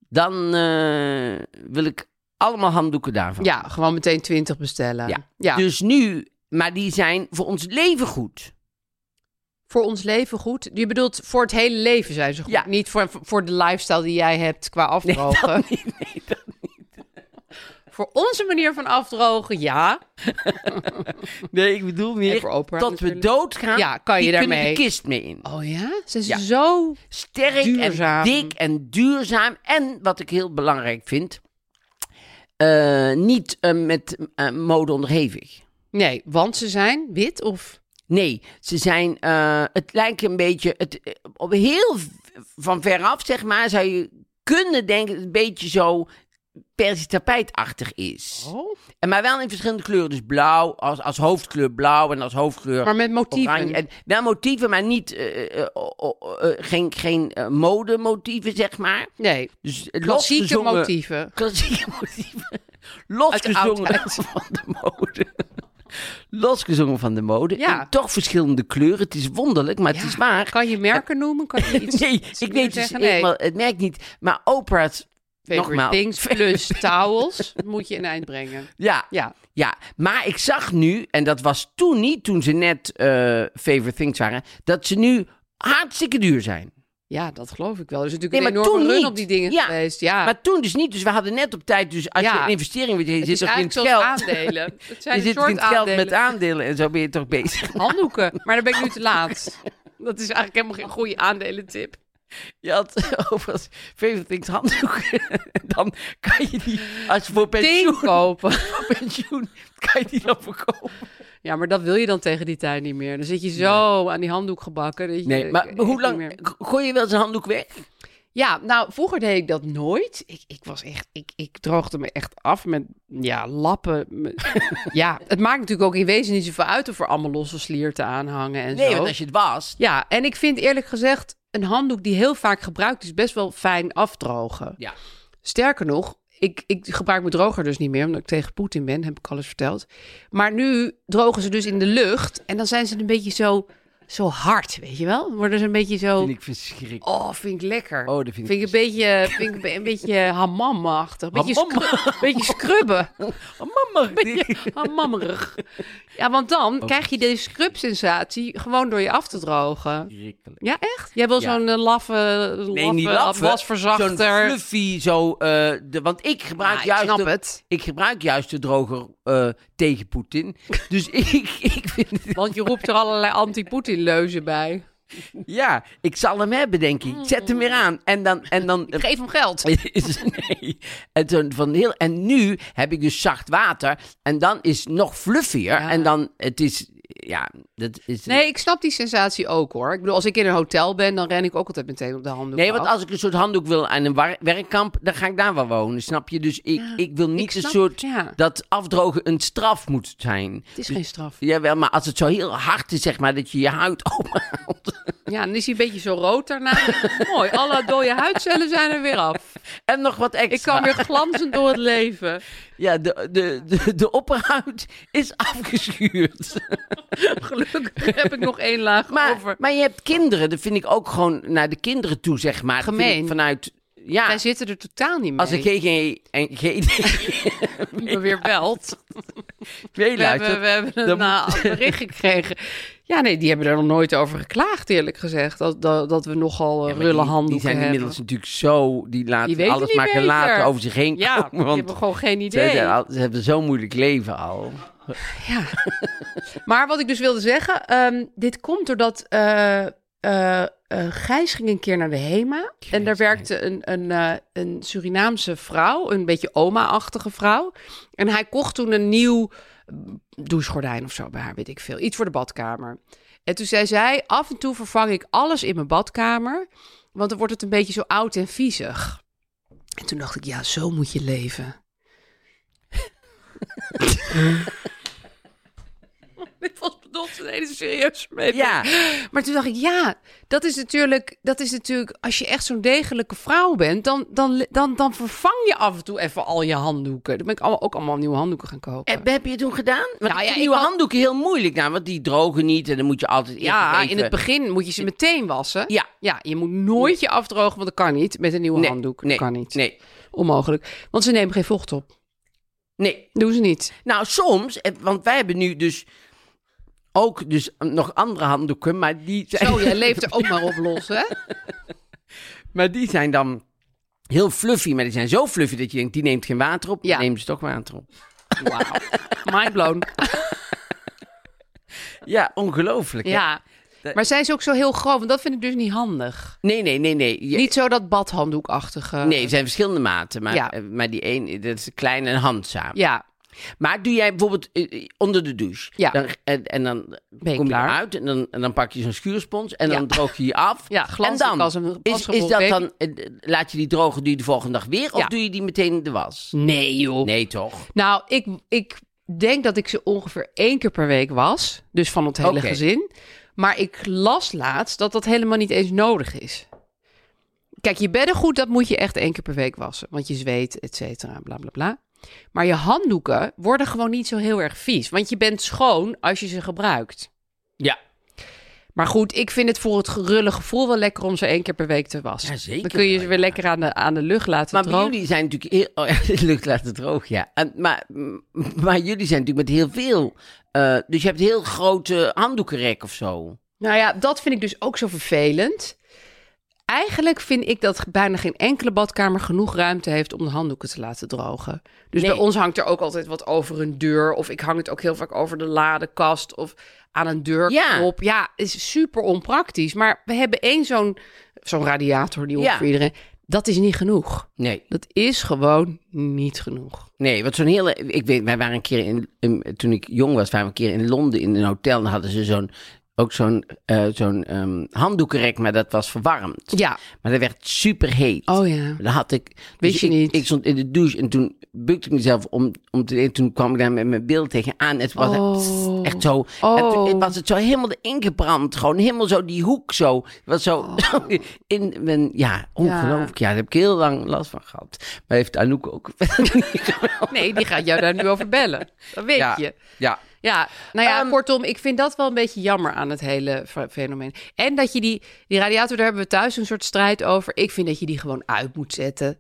A: dan eh, wil ik allemaal handdoeken daarvan.
B: ja gewoon meteen 20 bestellen.
A: Ja. Dus nu... Maar die zijn voor ons leven goed.
B: Voor ons leven goed. Je bedoelt voor het hele leven zijn ze goed.
A: Ja.
B: Niet voor, voor de lifestyle die jij hebt qua afdrogen.
A: *laughs*
B: Voor onze manier van afdrogen, ja.
A: Nee, ik bedoel
B: En
A: meer...
B: voor Oprah
A: tot
B: natuurlijk.
A: we doodgaan,
B: Ja, kan je
A: die kunnen
B: daarmee-
A: de kist mee in.
B: Oh ja? Zijn ze
A: Ja.
B: zo...
A: sterk
B: Duurzaam.
A: en dik en duurzaam. En wat ik heel belangrijk vind, eh, niet eh, met eh, mode onderhevig.
B: Nee, want ze zijn wit of...
A: Nee, ze zijn, eh, het lijkt een beetje, het, eh, op heel v- van veraf zeg maar, zou je kunnen denken dat het een beetje zo persisch tapijtachtig is.
B: Oh.
A: En maar wel in verschillende kleuren. Dus blauw, als, als hoofdkleur blauw en als hoofdkleur
B: Maar met motieven.
A: oranje. En, wel motieven, maar niet, eh, eh, o- o- eh, geen, geen eh, modemotieven zeg maar.
B: Nee,
A: Dus
B: klassieke
A: losgezongen-
B: motieven.
A: Klassieke *laughs* motieven.
B: Uit de
A: Losgezongen
B: oudheid.
A: *laughs* van de mode. Losgezongen van de mode.
B: Ja.
A: En toch verschillende kleuren. Het is wonderlijk, maar het is waar.
B: Kan je merken noemen? Kan
A: *laughs*
B: je iets
A: Nee,
B: iets
A: ik
B: meer
A: weet dus
B: zeggen? Nee.
A: helemaal, het merk niet. Maar Oprah's,
B: Favorite
A: nogmaals.
B: things plus towels moet je in eind brengen.
A: ja,
B: Ja.
A: ja. Maar ik zag nu, en dat was toen niet, toen ze net eh Favorite Things waren, dat ze nu hartstikke duur zijn.
B: Ja, dat geloof ik wel. Er is natuurlijk
A: Nee, maar
B: een enorme
A: toen
B: run
A: niet.
B: op die dingen
A: Ja.
B: geweest. Ja,
A: Maar toen dus niet. Dus we hadden net op tijd, dus als
B: Ja.
A: je een investering wil, je
B: het
A: zit
B: is
A: toch in het
B: eigenlijk
A: geld.
B: zoals aandelen. Het
A: *laughs*
B: zijn
A: je
B: een
A: zit toch
B: soort
A: in het geld
B: aandelen.
A: met aandelen en zo ben je toch bezig.
B: handdoeken. Maar daar ben ik nu te laat. Dat is eigenlijk helemaal geen goede aandelentip.
A: Je had *laughs* overigens Favorite Things handdoeken. *laughs* Dan kan *laughs* je die, als je voor
B: Ding
A: pensioen, *laughs*
B: kopen.
A: voor pensioen kan je die dan verkopen.
B: Ja, maar dat wil je dan tegen die tijd niet meer. Dan zit je zo aan die handdoek gebakken. dat je-
A: Nee, maar
B: ik-
A: hoe
B: ik niet
A: lang,
B: meer-
A: gooi je wel eens een handdoek weg?
B: Ja, nou, vroeger deed ik dat nooit. Ik, ik was echt, ik, ik droogde me echt af met, ja, lappen. Met-
A: *laughs*
B: ja, het maakt natuurlijk ook in wezen niet zoveel uit of er allemaal losse slier te aanhangen en
A: Nee,
B: zo.
A: want als je het was.
B: Ja, en ik vind eerlijk gezegd, een handdoek die heel vaak gebruikt is best wel fijn afdrogen.
A: Ja.
B: Sterker nog, ik, ik gebruik mijn droger dus niet meer, omdat ik tegen Poetin ben, heb ik alles verteld. Maar nu drogen ze dus in de lucht en dan zijn ze een beetje zo zo hard, weet je wel? Worden ze een beetje zo...
A: Vind ik verschrikkelijk.
B: Oh, vind ik lekker.
A: Oh, dat vind ik
B: een beetje, vind ik een be- een
A: *laughs*
B: beetje hamamachtig. Beetje,
A: Hamam.
B: scrub- beetje scrubben.
A: Oh, mama.
B: beetje hamammerig. Ja, want dan
A: Oh.
B: krijg je deze scrub-sensatie gewoon door je af te drogen.
A: Verschrikkelijk.
B: Ja, echt? Jij wil
A: Ja.
B: zo'n eh, laffe, laffe
A: Nee, niet laf. Zo'n
B: wasverzachter.
A: fluffy, zo... eh, de, want ik gebruik
B: Ja, ik
A: juist...
B: snap
A: de-
B: het.
A: Ik gebruik juist de droger eh, tegen *laughs* Poetin. Dus ik, ik vind het
B: Want je roept er allerlei anti-Poetin-leuzen bij.
A: Ja, ik zal hem hebben, denk ik. Zet hem weer aan. En dan. En dan
B: Ik geef hem
A: *laughs*
B: geld.
A: is- nee. En, toen van heel, en nu heb ik dus zacht water. En dan is het nog fluffier.
B: Ja.
A: En dan, het is. Ja, dat is.
B: Nee, ik snap die sensatie ook hoor. Ik bedoel, als ik in een hotel ben, dan ren ik ook altijd meteen op de handdoek
A: Nee, want
B: af.
A: als ik een soort handdoek wil aan een war- werkkamp, dan ga ik daar wel wonen, snap je? Dus ik, ik wil niet
B: ik snap-
A: een soort
B: ja.
A: dat afdrogen een straf moet zijn. Dus
B: Het is geen straf.
A: Jawel, maar als het zo heel hard is, zeg maar, dat je je huid openhoudt.
B: Ja, dan is hij een beetje zo rood
A: *laughs*
B: daarna. Mooi, alle dode huidcellen zijn er weer af.
A: En nog wat extra.
B: Ik kan weer glanzend door het leven.
A: Ja, de, de, de, de opperhuid is afgeschuurd. *laughs*
B: Gelukkig heb ik nog één laag over.
A: Maar, maar je hebt kinderen, dat vind ik ook gewoon naar de kinderen toe, zeg maar. Dat vind ik
B: Gemeen.
A: vanuit, ja,
B: Wij zitten er totaal niet mee.
A: als een GG en GD
B: me weer belt. We hebben,
A: meeluistert.
B: we hebben een
A: dan *laughs*
B: eh, bericht gekregen. Ja, nee, die hebben er nog nooit over geklaagd, eerlijk gezegd. Dat, dat, dat we nogal eh,
A: Ja, maar
B: rulle
A: die-
B: handdoeken
A: Die zijn
B: hebben.
A: inmiddels natuurlijk zo, die laten
B: Die weten
A: alles
B: niet
A: maar
B: beter.
A: gelaten over zich heen
B: Ja,
A: komen.
B: die
A: Want
B: hebben gewoon geen
A: ze,
B: idee.
A: hebben al- ze hebben zo'n moeilijk leven al.
B: Ja. maar wat ik dus wilde zeggen, ehm, dit komt doordat eh, eh, eh, Gijs ging een keer naar de HEMA. en daar werkte een, een, eh, een Surinaamse vrouw, een beetje oma-achtige vrouw. En hij kocht toen een nieuw mm, douchegordijn of zo bij haar, weet ik veel. Iets voor de badkamer. En toen zei zij, af en toe vervang ik alles in mijn badkamer, want dan wordt het een beetje zo oud en viezig. En toen dacht ik, ja, zo moet je leven. *laughs* Dit was bedoeld als een hele serieuze mededeling.
A: Ja.
B: Maar toen dacht ik, ja, dat is natuurlijk, dat is natuurlijk als je echt zo'n degelijke vrouw bent, dan, dan, dan, dan vervang je af en toe even al je handdoeken. Dan ben ik allemaal, ook allemaal nieuwe handdoeken gaan kopen.
A: En heb je het toen gedaan? Want
B: Nou
A: Eh, ik
B: ja,
A: vind
B: ik
A: nieuwe
B: had-
A: handdoeken heel moeilijk, nou, want die drogen niet en dan moet je altijd eerst nog
B: ja,
A: even-
B: in het begin moet je ze meteen wassen.
A: Ja.
B: ja je moet nooit je afdrogen, want dat kan niet met een nieuwe
A: Nee,
B: handdoek. Dat
A: nee,
B: kan niet.
A: Nee,
B: Onmogelijk. Want ze nemen geen vocht op.
A: nee.
B: Doen ze niet.
A: Nou, soms, eh, want wij hebben nu dus ook dus nog andere handdoeken, maar die zijn,
B: Zo, jij leeft er ook maar op los, hè?
A: *laughs* maar die zijn dan heel fluffy, maar die zijn zo fluffy dat je denkt, die neemt geen water op,
B: Ja.
A: dan nemen ze toch water op.
B: *laughs* Wauw. Mind blown.
A: Ja, ongelooflijk. hè?
B: Ja. Maar zij is ook zo heel groot, want dat vind ik dus niet handig.
A: Nee, nee, nee, nee. Je-
B: Niet zo dat badhanddoekachtige.
A: Nee, er zijn verschillende maten, maar,
B: Ja.
A: eh, maar die één, dat is klein en handzaam.
B: Ja,
A: Maar doe jij bijvoorbeeld eh, eh, onder de douche,
B: Ja.
A: dan, en, en dan
B: Ben je
A: kom je
B: klaar?
A: eruit en dan, en dan pak je zo'n schuurspons en
B: Ja.
A: dan droog je je af.
B: Ja,
A: en
B: glanzend
A: dan,
B: als een- als
A: is, is
B: gerold
A: dat
B: baby.
A: dan, eh, laat je die drogen doe je de volgende dag weer of
B: Ja.
A: doe je die meteen in de was?
B: Nee, joh.
A: Nee, toch?
B: Nou, ik, ik denk dat ik ze ongeveer één keer per week was. Dus van het hele
A: Oké.
B: gezin. Maar ik las laatst dat dat helemaal niet eens nodig is. Kijk, je beddengoed, dat moet je echt één keer per week wassen. Want je zweet, et cetera, bla bla bla. Maar je handdoeken worden gewoon niet zo heel erg vies. Want je bent schoon als je ze gebruikt.
A: Ja.
B: Maar goed, ik vind het voor het gerulle gevoel wel lekker om ze één keer per week te wassen.
A: Ja, zeker
B: Dan kun je
A: wel,
B: ze weer
A: ja.
B: lekker aan de, aan de lucht laten
A: Maar bij
B: drogen.
A: jullie zijn natuurlijk heel... Oh, *laughs* ja, lucht laten droog, ja. En, maar, maar jullie zijn natuurlijk met heel veel... eh, dus je hebt een heel grote handdoekenrek of zo.
B: Nou ja, dat vind ik dus ook zo vervelend. Eigenlijk vind ik dat bijna geen enkele badkamer genoeg ruimte heeft om de handdoeken te laten drogen. Dus
A: Nee.
B: bij ons hangt er ook altijd wat over een deur. Of ik hang het ook heel vaak over de ladekast of aan een deurknop. Ja, is super onpraktisch. Maar we hebben één zo'n zo'n radiator die hoort
A: Ja.
B: voor iedereen. Dat is niet genoeg.
A: Nee,
B: Dat is gewoon niet genoeg.
A: nee. Wat zo'n hele... Ik weet, wij waren een keer in, in- Toen ik jong was, waren we een keer in Londen in een hotel. En dan hadden ze zo'n... Ook zo'n eh, zo'n ehm, handdoekenrek, maar dat was verwarmd.
B: Ja.
A: Maar dat werd superheet.
B: Oh ja.
A: Dat had ik.
B: Wist
A: dus
B: je
A: ik,
B: niet?
A: Ik stond in de douche en toen bukte ik mezelf om, om te Toen kwam ik daar met mijn beeld tegenaan. En toen was
B: Oh.
A: het pssst, echt zo. En
B: Oh.
A: toen was het zo helemaal ingebrand. Gewoon helemaal zo die hoek zo. Het Was zo
B: Oh.
A: *laughs* in mijn, ja, ongelooflijk. Ja. daar heb ik heel lang last van gehad. Maar heeft Anouk ook. *laughs*
B: Nee, die gaat jou daar nu over bellen. Dat weet je.
A: ja.
B: Ja, nou ja,
A: Ehm,
B: kortom, ik vind dat wel een beetje jammer aan het hele fe- fenomeen. En dat je die, die radiator, daar hebben we thuis een soort strijd over. Ik vind dat je die gewoon uit moet zetten.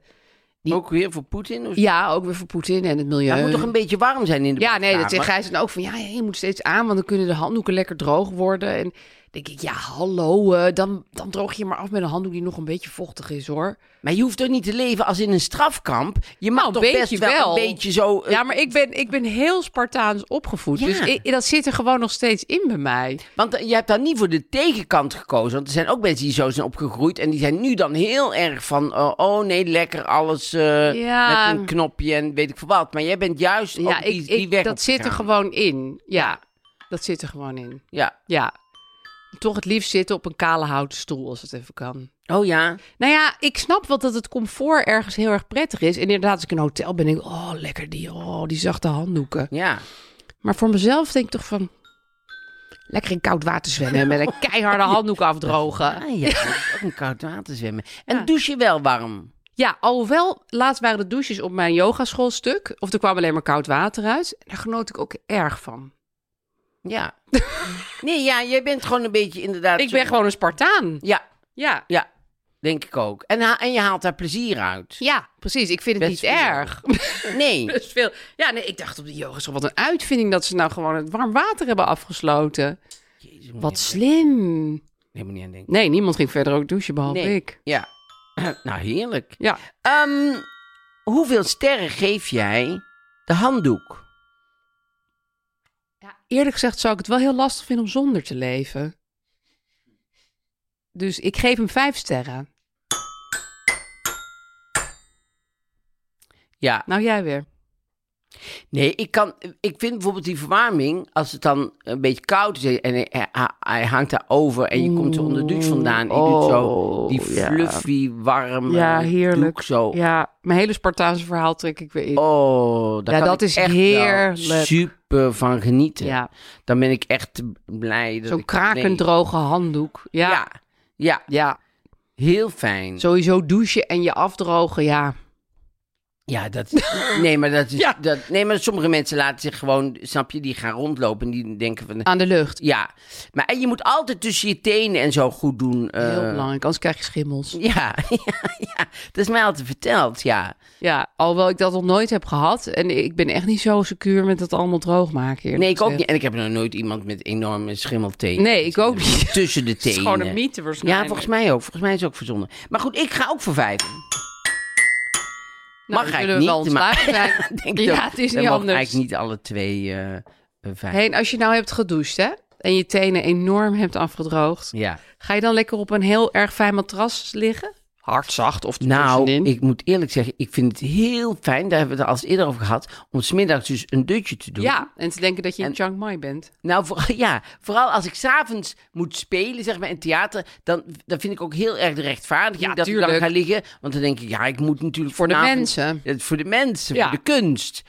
A: Ook weer voor Poetin? Of...
B: Ja, ook weer voor Poetin en het milieu.
A: Het moet toch een beetje warm zijn in de
B: Ja, nee, dat
A: badkamer?
B: zegt Gijs dan ook van, ja, je moet steeds aan, want dan kunnen de handdoeken lekker droog worden. En dan denk ik, ja, hallo, eh, dan, dan droog je maar af met een handdoek die nog een beetje vochtig is, hoor.
A: Maar je hoeft toch niet te leven als in een strafkamp? Je mag
B: Nou, een
A: toch
B: beetje
A: best wel,
B: wel.
A: een beetje zo... eh,
B: Ja, maar ik ben, ik ben heel Spartaans opgevoed,
A: Ja.
B: dus ik- dat zit er gewoon nog steeds in bij mij.
A: Want eh, je hebt daar niet voor de tegenkant gekozen. Want er zijn ook mensen die zo zijn opgegroeid. En die zijn nu dan heel erg van... eh, oh nee, lekker alles eh,
B: Ja.
A: met een knopje en weet ik veel wat. Maar jij bent juist
B: Ja,
A: op Oh, die,
B: ik,
A: die
B: ik,
A: weg
B: dat zit er
A: opgegaan.
B: gewoon in. Ja, dat zit er gewoon in.
A: Ja.
B: Ja. Toch het liefst zitten op een kale houten stoel als het even kan.
A: Oh ja.
B: Nou ja, ik snap wel dat het comfort ergens heel erg prettig is. En inderdaad, als ik in een hotel ben, denk ik, oh lekker die, oh, die zachte handdoeken.
A: Ja.
B: Maar voor mezelf denk ik toch van, lekker in koud water zwemmen en met een
A: *laughs*
B: keiharde handdoek afdrogen.
A: Ah ja, ook een koud water zwemmen. En douche je wel warm.
B: Ja, alhoewel, laatst waren de douches op mijn yogaschoolstuk. Of er kwam alleen maar koud water uit. En daar genoot ik ook erg van.
A: Ja.
B: *laughs*
A: nee, ja, jij bent gewoon een beetje inderdaad...
B: Ik
A: zo-
B: ben gewoon een Spartaan.
A: Ja,
B: Ja.
A: ja. Denk ik ook. En, ha- en je haalt daar plezier uit.
B: Ja, precies. Ik vind het
A: Best
B: niet
A: veel. *laughs*
B: erg. *laughs*
A: Nee.
B: Best veel. Ja, nee, ik dacht op de yogaschool, wat een uitvinding dat ze nou gewoon het warm water hebben afgesloten.
A: Jezus, moet
B: Wat
A: je-
B: slim.
A: Nee, moet je niet aan denken.
B: Nee, niemand ging verder ook douchen, behalve
A: Nee.
B: ik.
A: Ja. *clears throat* nou, heerlijk.
B: Ja.
A: Ehm, hoeveel sterren geef jij de handdoek?
B: Eerlijk gezegd zou ik het wel heel lastig vinden om zonder te leven. Dus ik geef hem vijf sterren.
A: Ja,
B: Nou, jij weer.
A: nee, ik, kan, ik vind bijvoorbeeld die verwarming, als het dan een beetje koud is en hij, hij- hij hangt daarover en je komt er onder de douche vandaan en je doet zo
B: Oh,
A: die
B: ja.
A: fluffy, warme doek zo.
B: Ja, mijn hele Spartaanse verhaal trek ik weer in.
A: Oh, daar
B: Ja,
A: kan
B: dat
A: ik
B: is
A: echt wel
B: heerlijk.
A: super van genieten.
B: ja,
A: Dan ben ik echt blij. dat
B: zo'n
A: ik-
B: krakend
A: nee.
B: droge handdoek. Ja. ja.
A: Ja. Mm. ja,
B: Ja,
A: heel fijn.
B: sowieso douchen en je afdrogen, ja.
A: Ja, dat *laughs* Nee, maar dat is.
B: Ja.
A: Dat, nee, maar sommige mensen laten zich gewoon, snap je, die gaan rondlopen en die denken van.
B: Aan de lucht.
A: Ja, maar en je moet altijd tussen je tenen en zo goed doen. eh,
B: Heel belangrijk, anders krijg je schimmels.
A: *laughs* Ja, ja, ja, dat is mij altijd verteld, ja.
B: Ja, alhoewel ik dat nog nooit heb gehad. En ik ben echt niet zo secuur met dat allemaal droog maken. eerlijk
A: Nee, ik ook
B: gezegd.
A: niet. En ik heb nog nooit iemand met enorme schimmeltenen.
B: dus, eh, Nee, ik ook niet.
A: Tussen
B: *laughs*
A: de
B: Het
A: tenen.
B: is gewoon een mythe waarschijnlijk.
A: Ja, volgens mij ook. Volgens mij is het ook verzonnen. Maar goed, ik ga ook voor vijf.
B: Nou,
A: mag
B: dan
A: eigenlijk
B: zullen we
A: niet,
B: wel
A: *laughs*
B: ontslagen
A: maar-
B: zijn.
A: Denk
B: ja,
A: dat-
B: het is
A: wij
B: niet
A: mogen
B: anders.
A: eigenlijk niet alle twee eh eh, vijf.
B: Hey, en als je nou hebt gedoucht, hè? En je tenen enorm hebt afgedroogd.
A: Ja.
B: Ga je dan lekker op een heel erg fijn matras liggen? Hardzacht of
A: Nou,
B: ertussenin?
A: ik moet eerlijk zeggen, ik vind het heel fijn, daar hebben we het al eens eerder over gehad, om smiddags dus een dutje te doen.
B: Ja, en te denken dat je in
A: En-
B: Chiang Mai bent.
A: Nou, voor- ja, vooral *laughs* als ik s'avonds moet spelen, zeg maar, in theater, dan, dan vind ik ook heel erg de rechtvaardiging
B: Ja,
A: dat ik
B: tuurlijk.
A: dan ga liggen. Want dan denk ik, ja, ik moet natuurlijk
B: Voor de
A: vanavond-
B: mensen.
A: Ja, voor de mensen,
B: Ja.
A: voor de kunst.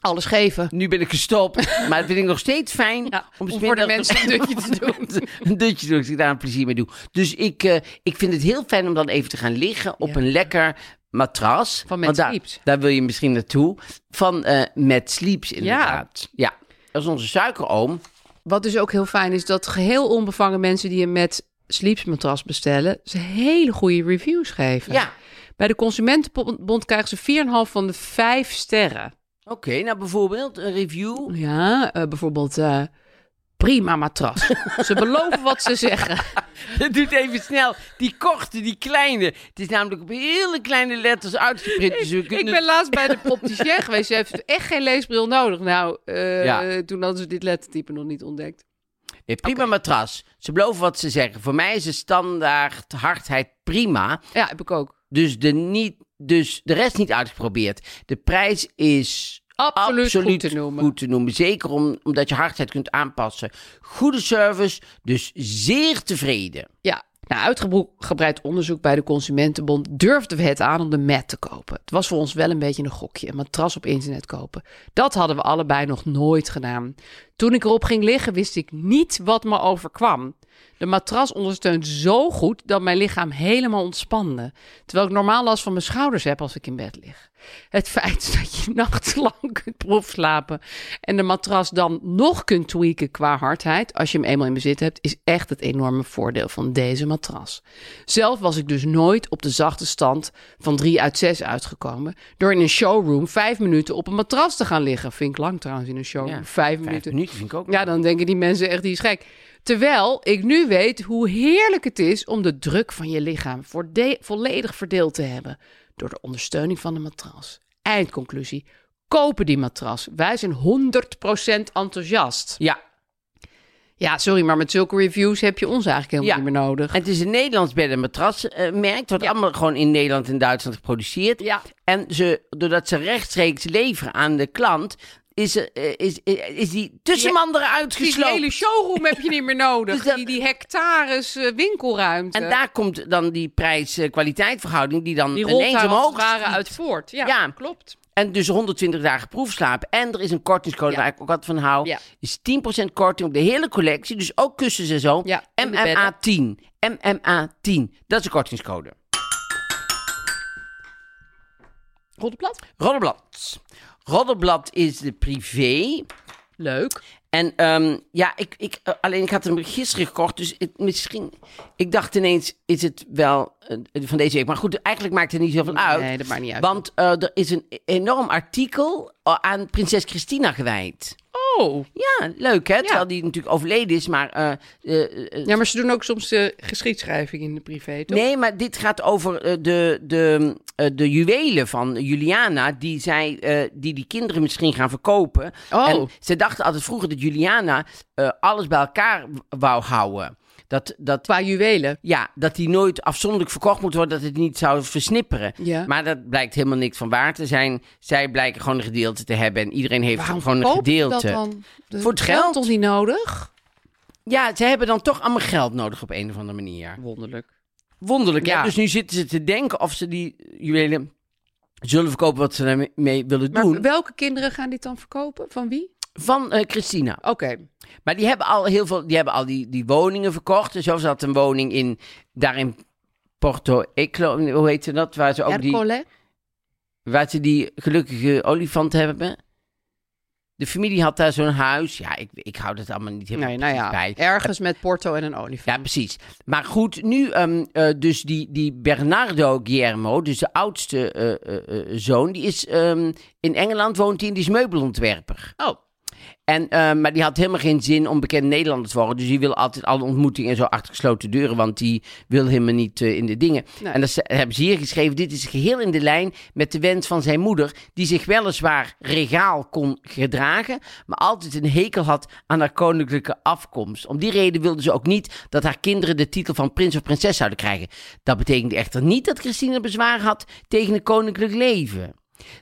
B: Alles geven.
A: Nu ben ik
B: *laughs*
A: gestopt, maar dat vind ik nog steeds fijn
B: Ja,
A: om,
B: om voor
A: smiddags-
B: de mensen een dutje te doen.
A: *laughs* een dutje te doen, als ik daar een plezier mee doe. Dus ik, eh, ik vind het heel fijn om dan even te gaan liggen op een lekker matras.
B: Van
A: Want
B: Mad
A: daar,
B: Sleeps.
A: Daar wil je misschien naartoe. Van eh Mad Sleeps inderdaad. Ja. Dat is onze suikeroom.
B: Wat dus ook heel fijn is, dat geheel onbevangen mensen die een met sleepsmatras bestellen, ze hele goede reviews geven.
A: Ja.
B: Bij de Consumentenbond krijgen ze 4,5 van de 5 sterren.
A: Oké, nou bijvoorbeeld een review. *laughs*
B: Ja, eh, bijvoorbeeld eh, prima matras.
A: *laughs*
B: ze beloven wat ze zeggen.
A: Dat doet even snel. Die korte, die kleine. Het is namelijk op hele kleine letters uitgeprint. Dus we
B: Ik
A: kunnen
B: ben laatst bij de opticien geweest. Ze heeft echt geen leesbril nodig. Nou, eh,
A: Ja.
B: toen hadden ze dit lettertype nog niet ontdekt.
A: Nee, prima matras. Ze beloven wat ze zeggen. Voor mij is de standaard hardheid prima.
B: Ja, heb ik ook.
A: Dus de, niet, dus de rest niet uitgeprobeerd. De prijs is
B: Absoluut goed
A: absoluut
B: te noemen.
A: goed te noemen. Zeker om, omdat je hardheid kunt aanpassen. Goede service, dus zeer tevreden.
B: Ja, na uitgebreid onderzoek bij de Consumentenbond durfden we het aan om de mat te kopen. Het was voor ons wel een beetje een gokje, een matras op internet kopen. Dat hadden we allebei nog nooit gedaan. Toen ik erop ging liggen, wist ik niet wat me overkwam. De matras ondersteunt zo goed dat mijn lichaam helemaal ontspande. Terwijl ik normaal last van mijn schouders heb als ik in bed lig. Het feit *laughs* dat je nachtlang kunt proefslapen en de matras dan nog kunt tweaken qua hardheid, als je hem eenmaal in bezit hebt, is echt het enorme voordeel van deze matras. Zelf was ik dus nooit op de zachte stand van 3 uit 6 uitgekomen door in een showroom vijf minuten op een matras te gaan liggen. Vind ik lang trouwens in een showroom.
A: Ja,
B: Oh, vijf,
A: Vijf
B: minuten.
A: minuten vind ik ook.
B: Ja, dan denken die mensen echt, die is gek. Terwijl ik nu weet hoe heerlijk het is om de druk van je lichaam voorde- volledig verdeeld te hebben door de ondersteuning van de matras. Eindconclusie. Kopen die matras. Wij zijn 100% enthousiast.
A: Ja,
B: Ja, sorry, maar met zulke reviews heb je ons eigenlijk helemaal
A: Ja.
B: niet meer nodig.
A: en het is een Nederlands bed- en matrasmerk. Wordt allemaal gewoon in Nederland en Duitsland geproduceerd.
B: Ja.
A: En ze, doordat ze rechtstreeks leveren aan de klant, is, er, eh, is, eh, is die tussenman eruit
B: Die
A: gesloopt.
B: hele showroom heb je niet meer
A: *laughs*
B: nodig.
A: Dus dat-
B: die, die hectares eh, winkelruimte.
A: En daar komt dan die prijs-kwaliteit verhouding die dan
B: die rolt
A: ineens
B: daar als het
A: omhoog
B: ware uit voort. Ja,
A: Ja.
B: klopt.
A: En dus 120 dagen proefslaap. En er is een kortingscode
B: Ja.
A: waar ik ook wat van hou.
B: Ja.
A: Is 10% korting op de hele collectie. Dus ook kussens en zo.
B: Ja, en de
A: MMA10. MMA10. Dat is de kortingscode.
B: Roddelblad.
A: Roddelblad. Roddelblad is de privé.
B: Leuk.
A: En ehm, ja, ik, ik, eh, alleen ik had hem gisteren gekocht, dus het, misschien... Ik dacht ineens, is het wel eh, van deze week? Maar goed, eigenlijk maakt het niet zoveel uit.
B: Nee, dat maakt niet uit.
A: Want eh, er is een enorm artikel eh, aan prinses Christina gewijd.
B: Oh.
A: Ja, leuk hè? Terwijl die natuurlijk overleden is, maar... eh, eh, eh,
B: Ja, maar ze doen ook soms eh, geschiedschrijving in de privé, toch?
A: Nee, maar dit gaat over eh, de, de, eh, de juwelen van Juliana, die, zij, eh, die die kinderen misschien gaan verkopen.
B: Oh.
A: En ze dachten altijd vroeger dat Juliana eh, alles bij elkaar w- wou houden. Dat, dat,
B: Qua juwelen.
A: ja, dat die nooit afzonderlijk verkocht moet worden, dat het niet zou versnipperen.
B: Ja.
A: Maar dat blijkt helemaal niks van waar te zijn. Zij blijken gewoon een gedeelte te hebben en iedereen heeft gewoon een
B: verkopen ze
A: gedeelte.
B: dat dan? Dat
A: Voor het
B: is
A: geld.
B: toch niet nodig?
A: Ja, ze hebben dan toch allemaal geld nodig op een of andere manier.
B: Wonderlijk.
A: Wonderlijk, ja.
B: Ja.
A: Dus nu zitten ze te denken of ze die juwelen zullen verkopen wat ze daarmee willen
B: Maar
A: doen.
B: welke kinderen gaan dit dan verkopen? Van wie?
A: Van eh, Christina.
B: Oké.
A: Maar die hebben al heel veel, die hebben al die, die woningen verkocht. En zo zat een woning in, daar in Porto Eclo, hoe heette dat? Waar ze ook die,
B: Ercole?
A: waar ze die gelukkige olifant hebben. De familie had daar zo'n huis. Ja, ik, ik hou dat allemaal niet helemaal
B: Nee, nou ja.
A: precies bij.
B: Ergens met Porto en een olifant.
A: Ja, precies. Maar goed, nu ehm, eh, dus die, die Bernardo Guillermo, dus de oudste eh, eh, eh, zoon, die is ehm, in Engeland woont hij en die is meubelontwerper.
B: Oh.
A: En, ehm, maar die had helemaal geen zin om bekend Nederlander te worden. Dus die wil altijd alle ontmoetingen en zo achter gesloten deuren. Want die wil helemaal niet eh, in de dingen.
B: Nee.
A: En dat ze- hebben ze hier geschreven. Dit is geheel in de lijn met de wens van zijn moeder. Die zich weliswaar regaal kon gedragen. Maar altijd een hekel had aan haar koninklijke afkomst. Om die reden wilde ze ook niet dat haar kinderen de titel van prins of prinses zouden krijgen. Dat betekende echter niet dat Christina bezwaar had tegen een koninklijk leven.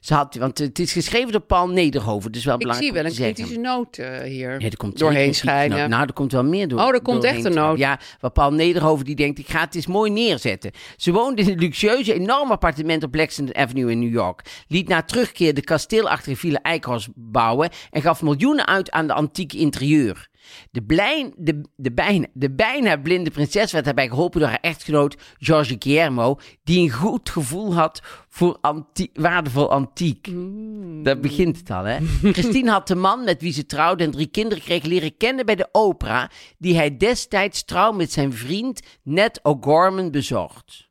A: Ze had, want het is geschreven door Paul Nederhoven. Dus wel
B: Ik zie
A: belangrijk
B: wel
A: om
B: een
A: te zeggen.
B: kritische noot eh, hier
A: Nee, er komt zeker
B: doorheen
A: een kritische noot.
B: schijnen.
A: Nou, er komt wel meer door.
B: Oh, er komt
A: doorheen
B: echt een
A: schijnen.
B: noot.
A: Ja, waar Paul Nederhoven die denkt, ik ga het eens mooi neerzetten. Ze woonde in een luxueuze, enorm appartement op Lexington Avenue in New York. Liet na terugkeer de kasteelachtige Villa Eickhoff bouwen en gaf miljoenen uit aan de antieke interieur. De, blij, de, de, bijna, de bijna blinde prinses werd daarbij geholpen door haar echtgenoot George Guillermo, die een goed gevoel had voor antie- waardevol antiek.
B: Mhm.
A: Daar begint het al, hè? Christine had de man met wie ze trouwde en drie kinderen kreeg leren kennen bij de opera, die hij destijds trouw met zijn vriend Ned O'Gorman bezocht.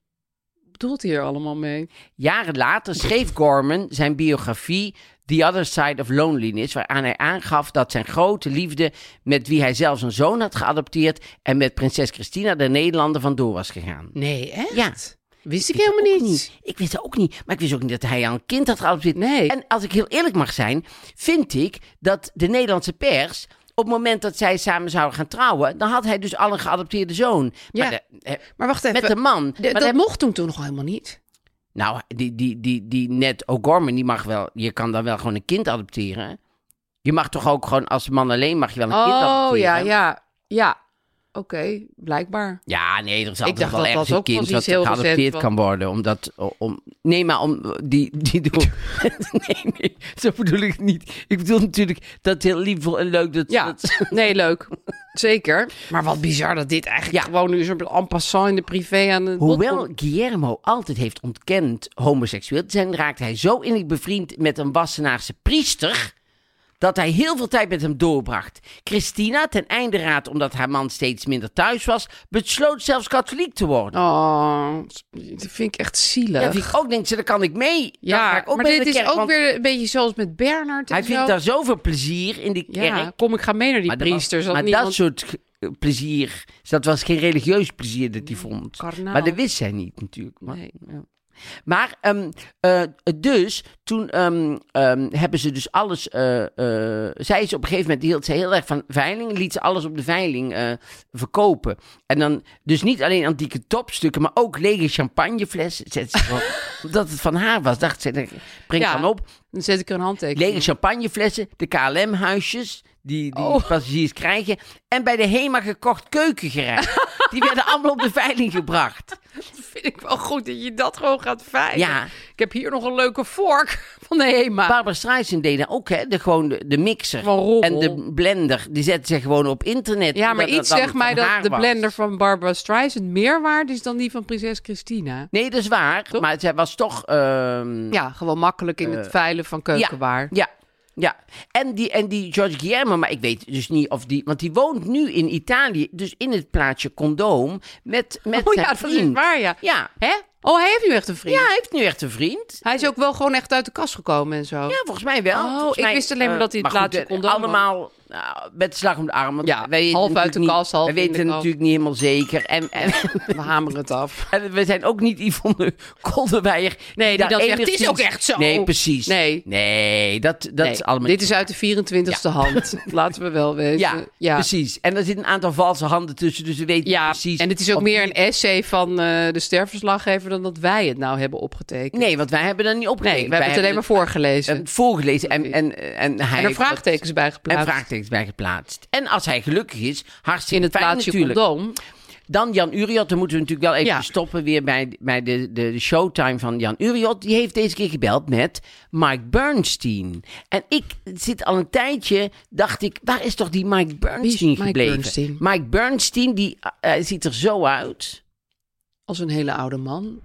B: Wat bedoelt hij hier allemaal mee?
A: Jaren later schreef Gorman zijn biografie The Other Side of Loneliness, waaraan hij aangaf dat zijn grote liefde, met wie hij zelfs een zoon had geadopteerd, en met prinses Christina de Nederlander vandoor was gegaan.
B: Nee, echt? Wist ik
A: wist
B: helemaal
A: ook
B: niet.
A: Ik wist dat ook niet. Maar ik wist ook niet dat hij aan een kind had geadopteerd.
B: Nee.
A: En als ik heel eerlijk mag zijn, vind ik dat de Nederlandse pers... op het moment dat zij samen zouden gaan trouwen... dan had hij dus al een geadopteerde zoon.
B: Ja.
A: Maar de- eh,
B: Maar wacht even.
A: met een man.
B: De-
A: Maar
B: dat
A: hij-
B: mocht toen toch nog helemaal niet?
A: Nou, die, die, die, die net O'Gorman, die mag wel... je kan dan wel gewoon een kind adopteren. Je mag toch ook gewoon als man alleen mag je wel een kind
B: Oh,
A: adopteren?
B: ja, ja. Ja. Oké, blijkbaar.
A: Ja, nee, er is altijd
B: dacht
A: wel
B: dat
A: ergens
B: dat
A: een
B: ook pas
A: kind
B: iets
A: dat
B: heel recent
A: geadopteerd
B: was.
A: kan worden. Omdat, om, nee, maar om die, die doel... *laughs* nee, nee, zo bedoel ik het niet. Ik bedoel natuurlijk dat het heel lief en leuk dat...
B: Ja,
A: dat-
B: *laughs* nee, leuk. Zeker. Maar wat bizar dat dit eigenlijk
A: Ja.
B: gewoon nu zo'n en passant in de privé aan het bod
A: Hoewel
B: komt.
A: Guillermo altijd heeft ontkend homoseksueel te zijn, raakt hij zo innig bevriend met een Wassenaarse priester dat hij heel veel tijd met hem doorbracht. Christina, ten einde raad omdat haar man steeds minder thuis was, besloot zelfs katholiek te worden.
B: Oh, dat vind ik echt zielig.
A: Ja, vind ik ook denk ze, dan kan ik mee. Dan ga
B: Oh, Ja,
A: ik ook
B: maar
A: mee
B: dit
A: naar de
B: is
A: kerk,
B: ook
A: want
B: weer een beetje zoals met Bernard. en
A: Hij vindt
B: zo.
A: daar zoveel plezier in die kerk.
B: Ja, kom, ik ga mee naar die
A: maar dat was-
B: priesters.
A: maar
B: niemand...
A: dat soort ge- eh, plezier, dat was geen religieus plezier dat hij vond.
B: karnaal.
A: Maar dat wist zij niet natuurlijk. Maar,
B: nou. Nee.
A: ja. maar ehm, eh, dus, toen ehm, ehm, hebben ze dus alles... eh, eh, zij is op een gegeven moment, hield ze heel erg van veilingen, liet ze alles op de veiling eh, verkopen. En dan, dus niet alleen antieke topstukken, maar ook lege champagneflessen. Zet ze
B: *laughs*
A: gewoon- Omdat het van haar was, dacht ze, breng
B: Ja.
A: dan op.
B: Dan zet ik er een handtekening.
A: Lege champagneflessen, de KLM-huisjes, die, die
B: Oh.
A: passagiers krijgen. En bij de HEMA gekocht
B: *laughs*
A: keukengerecht. die werden allemaal op de veiling gebracht.
B: *laughs* Dat vind ik wel goed dat je dat gewoon gaat veilen.
A: Ja.
B: Ik heb hier nog een leuke vork *laughs* van de HEMA.
A: Barbara Streisand deed dat ook, hè? De, gewoon de, de mixer
B: Van rommel.
A: en de blender. Die zetten ze gewoon op internet.
B: ja, maar
A: omdat
B: iets
A: dat dan
B: zegt mij
A: van haar
B: dat de
A: was.
B: blender van Barbara Streisand meer waard is dan die van prinses Christina.
A: Nee, dat is waar. Maar zij was toch... ehm,
B: Ja, gewoon makkelijk in
A: Eh,
B: het veilen van keukenwaar.
A: Ja. Ja, en die, en die George Guillermo, maar ik weet dus niet of die... Want die woont nu in Italië, dus in het plaatsje Condoom, met, met
B: Oh
A: zijn
B: ja, dat is
A: vriend.
B: waar, ja.
A: Ja,
B: Hè? Oh, hij heeft nu echt een vriend.
A: Ja, hij heeft nu echt een vriend.
B: Hij is ook wel gewoon echt uit de kast gekomen en zo.
A: Ja, volgens mij wel.
B: Oh,
A: Volgens
B: ik
A: mij,
B: wist alleen maar
A: eh,
B: dat hij het
A: maar
B: laatste
A: goed, eh,
B: condoom had.
A: Allemaal nou, met slag om de arm. Want
B: Ja,
A: wij weten
B: half uit de
A: natuurlijk
B: kast, half
A: niet, We
B: in de
A: weten
B: kast.
A: natuurlijk niet helemaal zeker. En, en, *laughs*
B: We hameren het af.
A: en we zijn ook niet Yvonne Kolderweijer.
B: Nee, die
A: daar
B: dan zegt, "Het is
A: enigszins-
B: ook echt zo."
A: Nee, precies.
B: Nee.
A: Nee, dat, dat
B: Nee,
A: is allemaal...
B: dit eh, is uit de 24e hand. *laughs* Laten we wel weten.
A: Ja, precies. En er zitten een aantal valse handen tussen, dus we weten
B: Ja,
A: precies...
B: en het is ook
A: of
B: meer
A: die-
B: een essay van eh, de sterverslaggever dan dat wij het nou hebben opgetekend.
A: Nee, want wij hebben dat niet opgegeven.
B: Nee, we hebben het alleen maar voorgelezen.
A: eh, voorgelezen. En, en, en, hij
B: en
A: heeft
B: er
A: dat-
B: vraagtekens bij geplaatst.
A: En vraagtekens bij geplaatst. En als hij gelukkig is, hartstikke
B: in het
A: fijn
B: plaatsje
A: natuurlijk.
B: condoom.
A: Dan Jan Uriot, dan moeten we natuurlijk wel even
B: Ja.
A: stoppen weer bij, bij de, de, de showtime van Jan Uriot. Die heeft deze keer gebeld met Mike Bernstein. En ik zit al een tijdje, dacht ik, waar is toch die Mike Bernstein
B: Mike
A: gebleven?
B: Bernstein?
A: Mike Bernstein, die eh, eh, ziet er zo uit.
B: Als een hele oude man.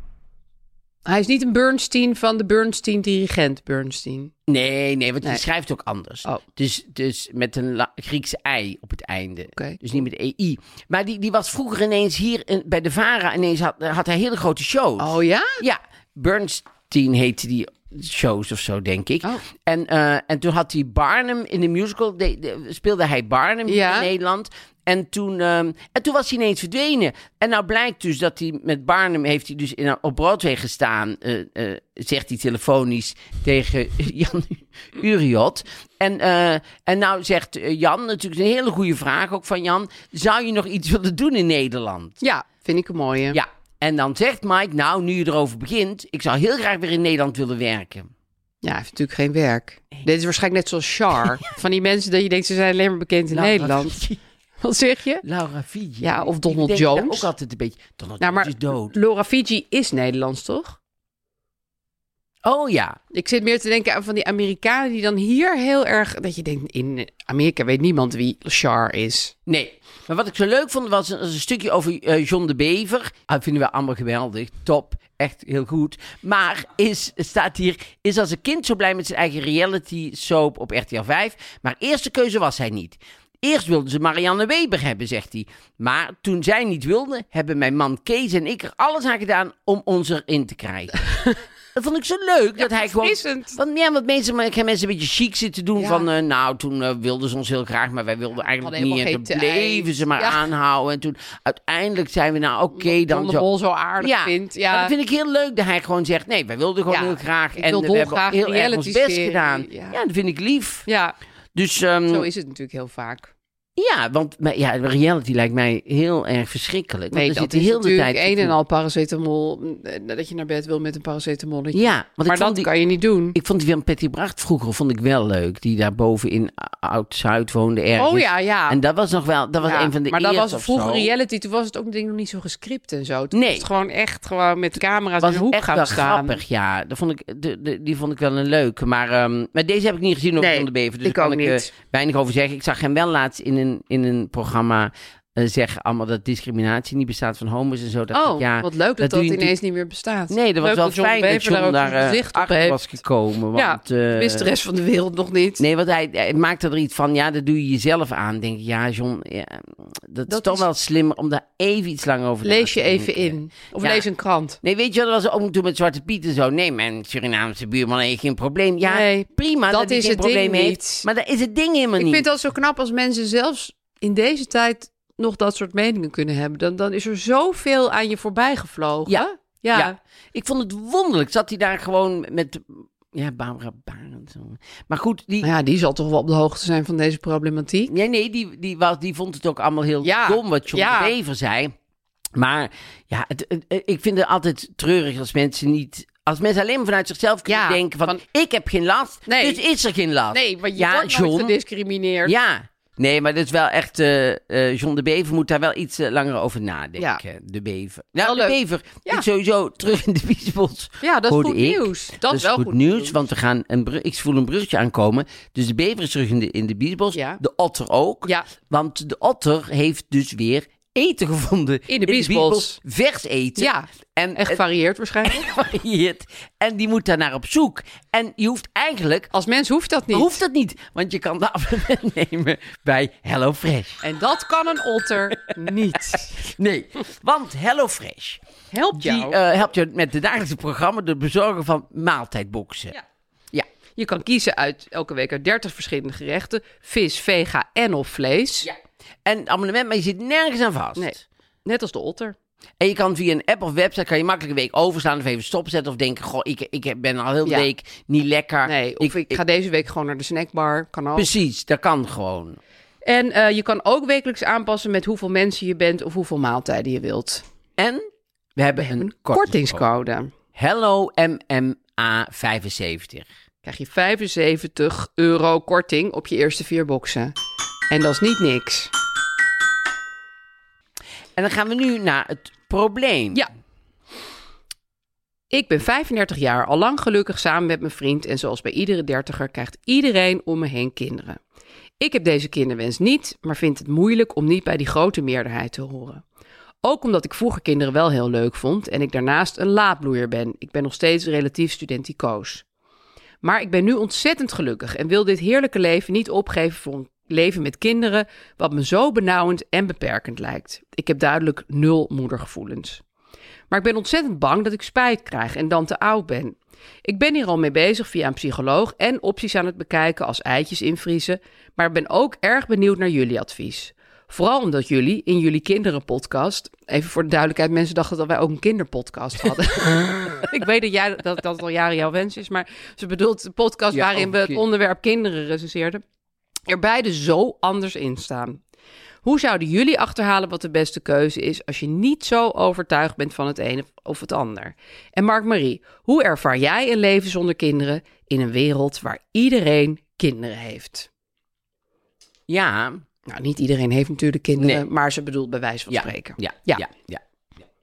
B: Hij is niet een Bernstein van de Bernstein-dirigent Bernstein.
A: Nee, nee, want hij
B: Nee.
A: schrijft ook anders.
B: Oh.
A: Dus, dus met een la- Griekse ei op het einde.
B: Oké.
A: Dus niet met EI. Maar die, die was vroeger ineens hier in- bij de VARA. Ineens had, had hij hele grote shows.
B: Oh ja?
A: Ja, Bernstein heette die shows of zo, denk ik.
B: Oh.
A: En, eh, en toen had hij Barnum in de musical, de- de- speelde hij Barnum hier
B: Ja.
A: in Nederland. En toen, ehm, en toen was hij ineens verdwenen. En nou blijkt dus dat hij met Barnum heeft hij dus in, op Broadway gestaan, eh, eh, zegt hij telefonisch tegen *laughs* Jan Uriot. En, eh, en nou zegt eh, Jan, natuurlijk een hele goede vraag ook van Jan, zou je nog iets willen doen in Nederland?
B: Ja, vind ik een mooie.
A: Ja, en dan zegt Mike, nou, nu je erover begint, ik zou heel graag weer in Nederland willen werken.
B: Ja, hij heeft natuurlijk geen werk. Dit is waarschijnlijk net
A: *laughs*
B: zoals Char. van die mensen dat je denkt, ze zijn alleen maar bekend in
A: Laura *laughs*
B: Nederland.
A: Fiji.
B: Wat zeg je?
A: Laura Fiji.
B: Ja, of
A: Ik
B: Donald
A: denk daar
B: Jones.
A: Ook altijd een beetje, Donald
B: Nou, maar
A: Jones is dood.
B: Laura Fiji is Nederlands, toch?
A: Oh ja,
B: Ik zit meer te denken aan van die Amerikanen die dan hier heel erg... Dat je denkt, in Amerika weet niemand wie Char is.
A: nee. Maar wat ik zo leuk vond, was een, was een stukje over eh, John de Bever. Dat vinden we allemaal geweldig, top, echt heel goed. Maar is, staat hier, is als een kind zo blij met zijn eigen reality soap op RTL 5. Maar eerste keuze was hij niet. Eerst wilden ze Marianne Weber hebben, zegt hij. Maar toen zij niet wilde, hebben mijn man Kees en ik er alles aan gedaan om ons erin te
B: *laughs*
A: krijgen. Dat vond ik zo leuk dat hij gewoon.
B: verfrissend.
A: Want, ja, want mensen, maar ik heb mensen een beetje chic zitten doen.
B: Ja.
A: Van eh, nou, toen eh, wilden ze ons heel graag, maar wij wilden eigenlijk
B: hadden
A: niet. En toen
B: helemaal geen tijd.
A: bleven ze maar
B: Ja.
A: aanhouden. En toen uiteindelijk zijn we nou, oké, dan.
B: John de
A: zo.
B: Mol zo aardig vindt. Ja.
A: maar dat vind ik heel leuk dat hij gewoon zegt: nee, wij wilden gewoon
B: Ja,
A: heel graag.
B: ik
A: En
B: wil
A: we hebben
B: dolgraag
A: heel erg ons best
B: reality-serie,
A: gedaan. Ja.
B: ja.
A: dat vind ik lief.
B: Ja,
A: Dus ehm,
B: zo is het natuurlijk heel vaak.
A: Ja, want maar ja, reality lijkt mij heel erg verschrikkelijk. Want
B: Nee,
A: er
B: dat
A: zit
B: is
A: heel de
B: natuurlijk
A: tijd
B: een en al paracetamol. eh, Dat je naar bed wil met een paracetamolletje.
A: Ja, want ik
B: maar
A: vond
B: dat
A: die-
B: kan je niet doen.
A: Ik vond die van Patty Bracht vroeger vond ik wel leuk. Die daar boven in Oud-Zuid woonde ergens.
B: Oh ja, ja.
A: dus- En dat was nog wel, dat was
B: Ja,
A: een van de
B: maar dat
A: eerste
B: was
A: of
B: vroeger
A: zo.
B: reality. Toen was het ook denk ik nog niet zo gescript en zo. Toen
A: Nee.
B: was het gewoon echt gewoon met camera's in
A: was
B: de hoek
A: echt
B: gaan
A: wel
B: staan.
A: grappig, ja. Dat vond ik, de, de- die vond ik wel een leuk. Maar, ehm, maar deze heb ik niet gezien op
B: Nee,
A: van de Bever. Dus
B: ik
A: daar kan
B: ook
A: ik eh,
B: niet.
A: weinig over zeggen. Ik zag hem wel laatst in een, in een programma eh, zeggen allemaal dat discriminatie niet bestaat van homo's en zo. Dacht
B: Oh,
A: ik, ja,
B: wat leuk dat dat,
A: doe je
B: ineens niet meer bestaat.
A: Nee, dat was
B: Leuk
A: wel
B: John
A: fijn dat
B: Bever
A: John
B: daar
A: daar
B: ook
A: eh,
B: gezicht op
A: achter
B: heeft.
A: was gekomen. Want,
B: Ja,
A: eh,
B: wist de rest van de wereld nog niet.
A: Nee, want hij, hij maakte er iets van, ja, dat doe je jezelf aan. Denk ik, ja, John, ja, dat, is
B: Dat
A: toch
B: is-
A: wel slimmer om daar even iets langer over na
B: Lees je
A: te
B: even
A: denken.
B: in. Of
A: eh, Ja.
B: lees een krant.
A: Nee, weet je wat, dat was ook toen met Zwarte Piet en zo. Nee, mijn Surinaamse buurman heeft geen probleem. Ja,
B: Nee,
A: prima dat,
B: dat
A: hij
B: is
A: geen
B: het
A: probleem
B: ding
A: heeft.
B: niet.
A: Maar dat is het ding helemaal
B: Ik
A: niet.
B: vind dat zo knap als mensen zelfs in deze tijd nog dat soort meningen kunnen hebben. Dan, dan is er zoveel aan je voorbij gevlogen.
A: Ja.
B: Ja.
A: Ja. Ik vond het wonderlijk. Zat hij daar gewoon met... Ja, Barbara Barend. Maar goed, die...
B: Maar Nou ja, die zal toch wel op de hoogte zijn van deze problematiek.
A: Nee, nee, die, die, was, die vond het ook allemaal heel
B: Ja,
A: dom wat John
B: ja.
A: de Bever zei. Maar ja, het, het- het- ik vind het altijd treurig als mensen niet... Als mensen alleen maar vanuit zichzelf kunnen
B: Ja,
A: denken van... Ik heb geen last,
B: Nee.
A: dus is er geen last.
B: Nee, want je
A: ja,
B: wordt
A: John,
B: nooit gediscrimineerd.
A: Ja, nee, maar dat is wel echt... eh, eh, John de Bever moet daar wel iets eh, langer over nadenken. De Bever. Nou,
B: Wel
A: de
B: leuk.
A: Bever
B: Ja.
A: is sowieso terug in de biesbos.
B: Ja, dat is
A: hoorde
B: goed
A: ik.
B: nieuws. Dat,
A: is
B: wel
A: goed nieuws, want we gaan een brug, ik voel een bruggetje aankomen. Dus de bever is terug in de, in de biesbos.
B: Ja.
A: De otter ook.
B: Ja.
A: Want de otter heeft dus weer eten gevonden.
B: biesbos.
A: Vers eten.
B: Ja,
A: En
B: echt
A: het *laughs*
B: varieert waarschijnlijk.
A: varieert. En die moet daar naar op zoek. En je hoeft eigenlijk...
B: Als mens hoeft dat niet.
A: Hoeft dat niet, want je kan de *laughs* abonnement nemen bij HelloFresh.
B: En dat kan een
A: *laughs*
B: otter niet.
A: Nee, want HelloFresh
B: Help
A: die,
B: jou.
A: eh, helpt je met het dagelijkse programma... het bezorgen van maaltijdboxen.
B: Ja.
A: ja.
B: je kan kiezen uit elke week uit 30 verschillende gerechten. Vis, vega en of vlees.
A: Ja. En abonnement, maar je zit nergens aan vast.
B: Nee, net als de otter.
A: En je kan via een app of website kan je makkelijk een week overslaan of even stopzetten of denken, goh, ik, ik ben al heel de
B: Ja.
A: week niet lekker.
B: Nee, of ik, ga deze week gewoon naar de snackbar. Kan ook.
A: Precies, dat kan gewoon.
B: En eh, je kan ook wekelijks aanpassen met hoeveel mensen je bent of hoeveel maaltijden je wilt.
A: En we hebben een kortingscode.
B: Kortingscode.
A: Hello MMA 75.
B: Krijg je 75 euro korting op je eerste vier boxen. En dat is niet niks.
A: En dan gaan we nu naar het probleem.
B: Ja. Ik ben 35 jaar, al lang gelukkig samen met mijn vriend. En zoals bij iedere dertiger krijgt iedereen om me heen kinderen. Ik heb deze kinderwens niet, maar vind het moeilijk om niet bij die grote meerderheid te horen. Ook omdat ik vroeger kinderen wel heel leuk vond en ik daarnaast een laadbloeier ben. Ik ben nog steeds relatief studenticoos. Maar ik ben nu ontzettend gelukkig en wil dit heerlijke leven niet opgeven voor een leven met kinderen, wat me zo benauwend en beperkend lijkt. Ik heb duidelijk nul moedergevoelens. Maar ik ben ontzettend bang dat ik spijt krijg en dan te oud ben. Ik ben hier al mee bezig via een psycholoog en opties aan het bekijken als eitjes invriezen, maar ben ook erg benieuwd naar jullie advies. Vooral omdat jullie in jullie kinderenpodcast, even voor de duidelijkheid, mensen dachten dat wij ook een
A: *laughs*
B: kinderpodcast hadden. ik weet dat, jij, dat dat al jaren jouw wens is, maar ze bedoelt de podcast
A: Ja,
B: waarin
A: over
B: we het
A: kinderen.
B: onderwerp kinderen recenseerden, er beide zo anders in staan. Hoe zouden jullie achterhalen wat de beste keuze is als je niet zo overtuigd bent van het ene of het ander? En Mark-Marie, hoe ervaar jij een leven zonder kinderen in een wereld waar iedereen kinderen heeft?
A: Ja.
B: Nou, niet iedereen heeft natuurlijk kinderen,
A: Nee.
B: maar ze bedoelt bij wijze van
A: Ja.
B: spreken.
A: Ja.
B: Ja.
A: Ja. ja.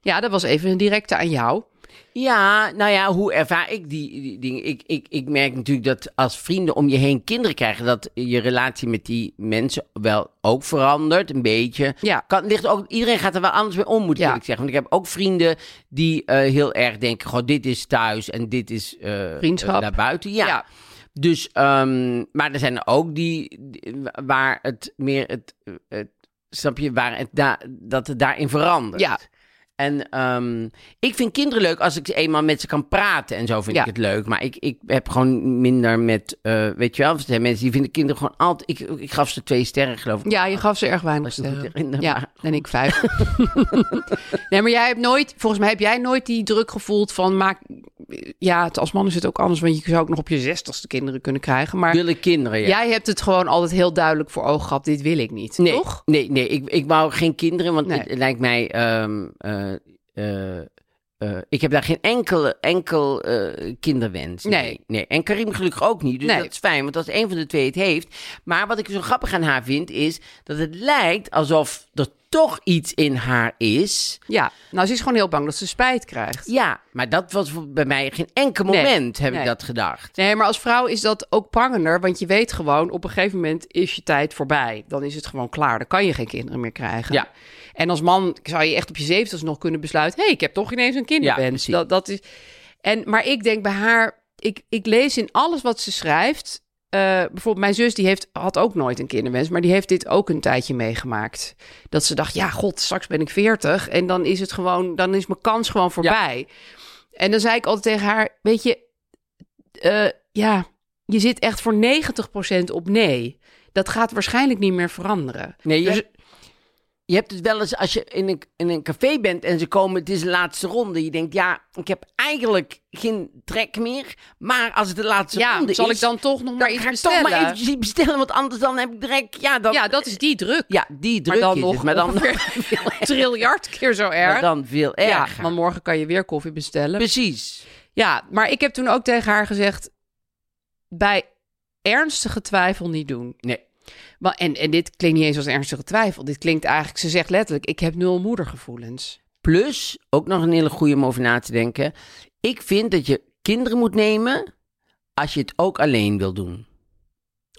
B: Ja, dat was even een directe aan jou.
A: Ja, nou ja, hoe ervaar ik die, die dingen? Ik, ik, ik merk natuurlijk dat als vrienden om je heen kinderen krijgen, dat je relatie met die mensen wel ook verandert, een beetje.
B: Ja.
A: Kan, ligt ook, iedereen gaat er wel anders mee om, moet ik
B: Ja.
A: eerlijk zeggen. Want ik heb ook vrienden die eh, heel erg denken, goh, dit is thuis en dit is eh,
B: Vriendschap.
A: eh, naar buiten. Ja.
B: Ja.
A: Dus, ehm, maar er zijn er ook die, die- waar het meer het, het snap je, waar het da, dat het daarin verandert.
B: Ja.
A: En ehm, ik vind kinderen leuk als ik eenmaal met ze kan praten en zo vind
B: Ja.
A: ik het leuk. Maar ik, ik heb gewoon minder met, eh, weet je wel, er zijn mensen die vinden kinderen gewoon altijd... Ik, ik gaf ze twee sterren, geloof ik.
B: Ja, je gaf ze erg weinig
A: Dat is goed
B: sterren.
A: herinneren,
B: Ja,
A: maar
B: en ik *laughs* vijf. nee, maar jij hebt nooit, volgens mij heb jij nooit die druk gevoeld van maak, ja, het, als man is het ook anders, want je zou ook nog op je zestigste kinderen kunnen krijgen. Maar
A: Jullie kinderen, ja.
B: jij hebt het gewoon altijd heel duidelijk voor ogen gehad, dit wil ik niet,
A: nee,
B: toch?
A: Nee, nee ik, ik wou geen kinderen, want
B: Nee.
A: het lijkt mij... ehm, eh, eh, eh, ik heb daar geen enkele, enkel eh, kinderwens.
B: Nee.
A: nee. En Karim gelukkig ook niet, dus
B: Nee.
A: dat is fijn. Want als een van de twee het heeft... Maar wat ik zo grappig aan haar vind, is dat het lijkt alsof er toch iets in haar is...
B: Ja, nou ze is gewoon heel bang dat ze spijt krijgt.
A: Ja, maar dat was voor- bij mij geen enkel
B: Nee,
A: moment, heb ik
B: nee.
A: dat gedacht.
B: Nee, maar als vrouw is dat ook prangender, want je weet gewoon, op een gegeven moment is je tijd voorbij. Dan is het gewoon klaar, dan kan je geen kinderen meer krijgen.
A: Ja.
B: En als man zou je echt op je zeventigste nog kunnen besluiten, hé, hey, ik heb toch ineens een
A: Ja,
B: kinderwens.
A: precies.
B: dat, dat is... en, maar ik denk bij haar, ik, ik lees in alles wat ze schrijft, eh, bijvoorbeeld mijn zus die heeft, had ook nooit een kinderwens, maar die heeft dit ook een tijdje meegemaakt. Dat ze dacht, ja god, straks ben ik veertig en dan is het gewoon, dan is mijn kans gewoon voorbij. En dan zei ik altijd tegen haar, weet je, eh, ja, je zit echt voor 90% op nee. Dat gaat waarschijnlijk niet meer veranderen.
A: Nee, je,
B: Dus-
A: hebt- je hebt het wel eens als je in een, in een café bent en ze komen, het is de laatste ronde. Je denkt, ja, ik heb eigenlijk geen trek meer. Maar als het de laatste
B: ja,
A: ronde
B: zal
A: is,
B: ik dan toch nog maar iets
A: ga ik
B: bestellen?
A: toch maar eventjes iets bestellen. Want anders dan heb ik direct, ja, dan,
B: Ja, dat is die
A: *laughs*
B: druk.
A: ja die druk
B: maar dan
A: is
B: nog
A: het. Maar dan,
B: ongeveer
A: *laughs* veel
B: een triljard keer zo
A: maar
B: erg. *laughs*
A: dan veel
B: ja,
A: erger.
B: want morgen kan je weer koffie bestellen.
A: Precies.
B: Ja, maar ik heb toen ook tegen haar gezegd... bij ernstige twijfel niet doen.
A: Nee.
B: Maar, en, en dit klinkt niet eens als ernstige twijfel. Dit klinkt eigenlijk, ze zegt letterlijk... ik heb nul moedergevoelens.
A: Plus, ook nog een hele goede om over na te denken. Ik vind dat je kinderen moet nemen als je het ook alleen wil doen.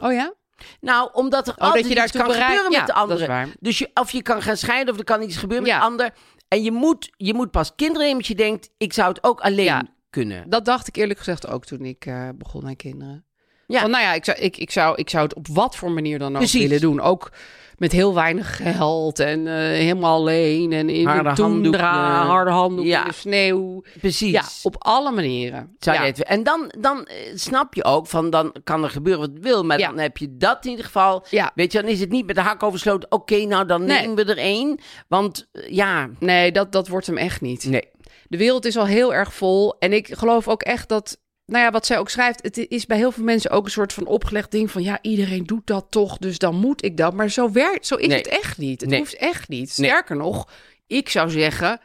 B: Oh ja?
A: Nou, omdat er
B: Oh, dat
A: altijd
B: je daar
A: iets
B: toe
A: kan
B: bereid-
A: gebeuren
B: Ja,
A: met de
B: dat is
A: anderen.
B: waar.
A: Dus je, of je kan gaan scheiden of er kan iets gebeuren
B: Ja.
A: met de ander. En je moet, je moet pas kinderen nemen als je denkt, ik zou het ook alleen
B: Ja.
A: kunnen.
B: Dat dacht ik eerlijk gezegd ook toen ik eh, begon aan kinderen.
A: Ja.
B: Ja. nou ja, ik zou, ik, ik, zou, ik zou het op wat voor manier dan ook
A: Precies.
B: willen doen. Ook met heel weinig geld en eh, helemaal alleen. En in
A: Harde
B: de tundra,
A: handdoeken.
B: harde handdoeken,
A: Ja.
B: in de sneeuw.
A: Precies.
B: Ja, op alle manieren.
A: Zou
B: ja.
A: jij het- en dan, dan eh, snap je ook van, dan kan er gebeuren wat het wil. Maar
B: Ja.
A: dan heb je dat in ieder geval.
B: Ja.
A: Weet je, dan is het niet met de hak oversloten. Oké, nou dan
B: Nee.
A: nemen we er één. Want eh, ja,
B: Nee, dat, dat wordt hem echt niet.
A: nee.
B: De wereld is al heel erg vol. En ik geloof ook echt dat, nou ja, wat zij ook schrijft, het is bij heel veel mensen ook een soort van opgelegd ding van, ja, iedereen doet dat toch, dus dan moet ik dat. Maar zo werkt, zo is
A: Nee.
B: het echt niet. Het
A: Nee.
B: hoeft echt niet.
A: Nee.
B: Sterker nog, ik zou zeggen,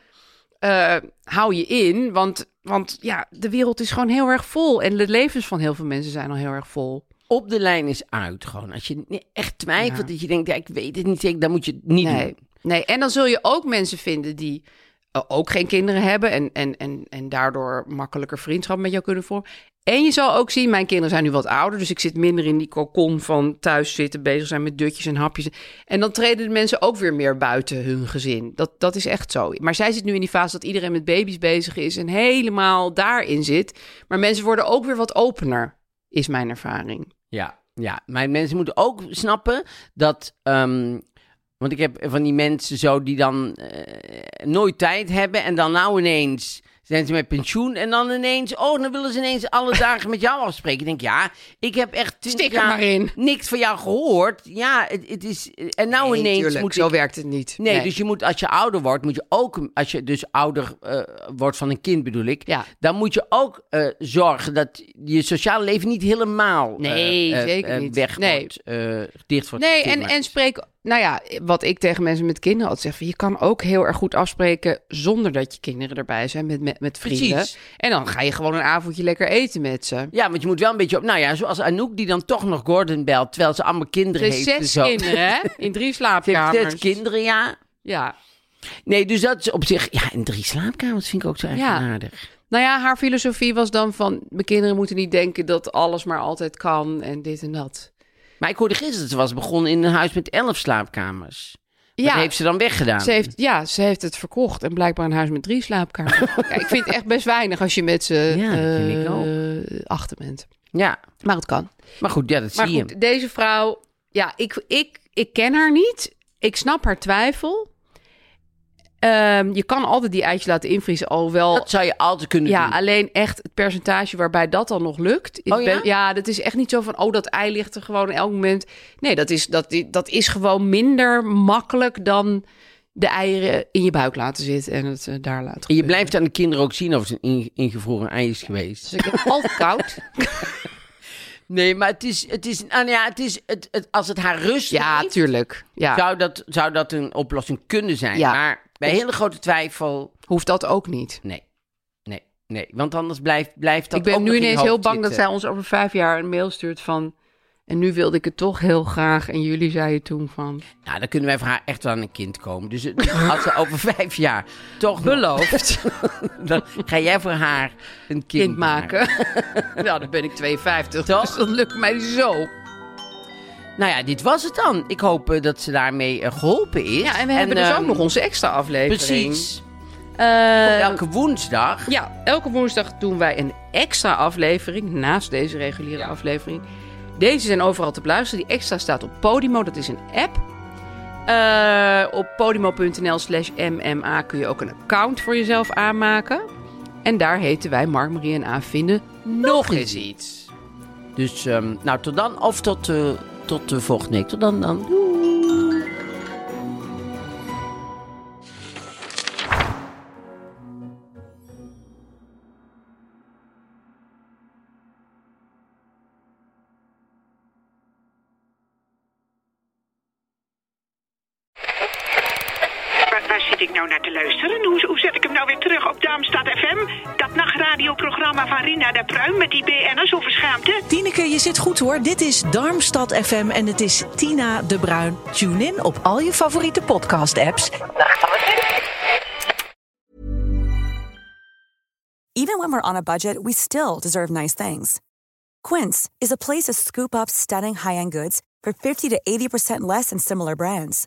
B: eh, hou je in, want, want ja, de wereld is gewoon heel erg vol. En de levens van heel veel mensen zijn al heel erg vol.
A: Op de lijn is uit gewoon. Als je ne- echt twijfelt,
B: Ja.
A: dat je denkt, ja, ik weet het niet zeker, dan moet je het niet
B: Nee.
A: doen.
B: nee, en dan zul je ook mensen vinden die eh, ook geen kinderen hebben en, en, en, en daardoor makkelijker vriendschap met jou kunnen vormen. En je zal ook zien, mijn kinderen zijn nu wat ouder, dus ik zit minder in die cocon van thuis zitten, bezig zijn met dutjes en hapjes. En dan treden de mensen ook weer meer buiten hun gezin. Dat, dat is echt zo. Maar zij zit nu in die fase dat iedereen met baby's bezig is en helemaal daarin zit. Maar mensen worden ook weer wat opener, is mijn ervaring.
A: Ja, ja. Maar mensen moeten ook snappen dat. ehm, want ik heb van die mensen zo die dan eh, nooit tijd hebben en dan nou ineens. Zijn ze met pensioen en dan ineens, oh, dan willen ze ineens
B: *laughs*
A: alle dagen met jou afspreken. Ik denk, ja, ik heb echt 20
B: Stik er
A: jaar
B: maar in.
A: niks van jou gehoord. Ja, het, het is, en nou
B: Nee,
A: ineens
B: tuurlijk,
A: moet
B: zo
A: ik-
B: werkt het niet.
A: Nee, dus je moet als je ouder wordt, moet je ook, als je dus ouder eh, wordt van een kind bedoel ik,
B: Ja.
A: dan moet je ook eh, zorgen dat je sociale leven niet helemaal eh,
B: Nee,
A: eh,
B: zeker
A: eh,
B: niet.
A: weg
B: Nee.
A: wordt, eh, dicht wordt.
B: Nee, en,
A: getimmerd.
B: en spreek. Nou ja, wat ik tegen mensen met kinderen altijd zeg: van, je kan ook heel erg goed afspreken zonder dat je kinderen erbij zijn met, met, met vrienden.
A: Precies.
B: En dan ga je gewoon een avondje lekker eten met ze.
A: Ja, want je moet wel een beetje op, nou ja, zoals Anouk die dan toch nog Gordon belt, terwijl ze allemaal
B: Er
A: kinderen
B: zijn
A: heeft. en
B: zes
A: zo. *laughs*
B: kinderen, hè? In drie
A: Ze heeft
B: slaapkamers.
A: zes kinderen, ja.
B: Ja.
A: Nee, dus dat is op zich, ja, en drie slaapkamers vind ik ook zo eigenaardig.
B: Nou ja, haar filosofie was dan van: mijn kinderen moeten niet denken dat alles maar altijd kan en dit en dat.
A: Maar ik hoorde gisteren dat ze was begonnen in een huis met elf slaapkamers.
B: Ja.
A: Dat heeft ze dan weggedaan.
B: Ze heeft, ja, ze heeft het verkocht en blijkbaar een huis met drie slaapkamers.
A: *laughs*
B: ja, ik vind het echt best weinig als je met ze
A: Ja, dat vind ik
B: eh, achter bent.
A: Ja,
B: Maar het kan.
A: maar goed, ja, dat
B: Maar
A: zie je.
B: goed, deze vrouw, ja, ik, ik, ik ken haar niet. Ik snap haar twijfel. Ehm, je kan altijd die eitjes laten invriezen, alhoewel...
A: Dat zou je altijd kunnen
B: ja,
A: doen.
B: alleen echt het percentage waarbij dat dan nog lukt. is
A: Oh ja?
B: best- dat is echt niet zo van, oh, dat ei ligt er gewoon in elk moment. Nee, dat is, dat, dat is gewoon minder makkelijk dan de eieren in je buik laten zitten en het eh, daar laten
A: En je
B: gebeuren.
A: blijft aan de kinderen ook zien of het een inge- ingevroren ei is geweest.
B: Dus ik heb
A: *laughs*
B: altijd koud.
A: Nee, maar het is, het is, nou ja, het is, het, het, als het haar rust
B: Ja,
A: geeft,
B: tuurlijk. Ja,
A: zou, dat, zou dat een oplossing kunnen zijn.
B: Ja.
A: Maar bij hele grote twijfel,
B: hoeft dat ook niet.
A: nee. Nee, nee. Want anders blijft, blijft dat
B: ik ben
A: ook nog
B: nu
A: in je
B: ineens heel
A: hoofd
B: bang dat zij
A: zitten.
B: ons over vijf jaar een mail stuurt van... En nu wilde ik het toch heel graag. En jullie zeiden toen van...
A: Nou, dan kunnen wij voor haar echt wel aan een kind komen. Dus het- *laughs* als ze over vijf jaar toch
B: *laughs*
A: belooft, *laughs* dan ga jij voor haar een kind,
B: Kind maken. *laughs* nou, dan ben ik 52.
A: Toch?
B: Dus dat lukt mij zo.
A: Nou ja, dit was het dan. Ik hoop eh, dat ze daarmee eh, geholpen is.
B: Ja, en we hebben dus
A: ehm,
B: ook nog onze extra aflevering.
A: Precies.
B: Eh,
A: Elke woensdag.
B: Ja, elke woensdag doen wij een extra aflevering naast deze reguliere aflevering. Deze zijn overal te beluisteren. Die extra staat op Podimo, dat is een app. Eh, op podimo.nl slash mma kun je ook een account voor jezelf aanmaken. En daar heten wij Mark, Marie en A vinden nog eens iets.
A: Dus, ehm, nou, tot dan. Of tot, eh, tot de volgende week. Tot dan dan.
C: Waar, waar zit ik nou naar te luisteren? Hoe, hoe zet ik hem nou weer terug op Darmstad FM? Dat nachtradioprogramma van Rina de Pruim met die BN'ers over schaamte?
D: Tineke, je zit goed hoor. Dit is Darmstad FM en het is Tina de Bruin. Tune in op al je favoriete podcast-apps.
E: Even when we're on a budget, we still deserve nice things. Quince is a place to scoop up stunning high-end goods for 50 to 80% less than similar brands.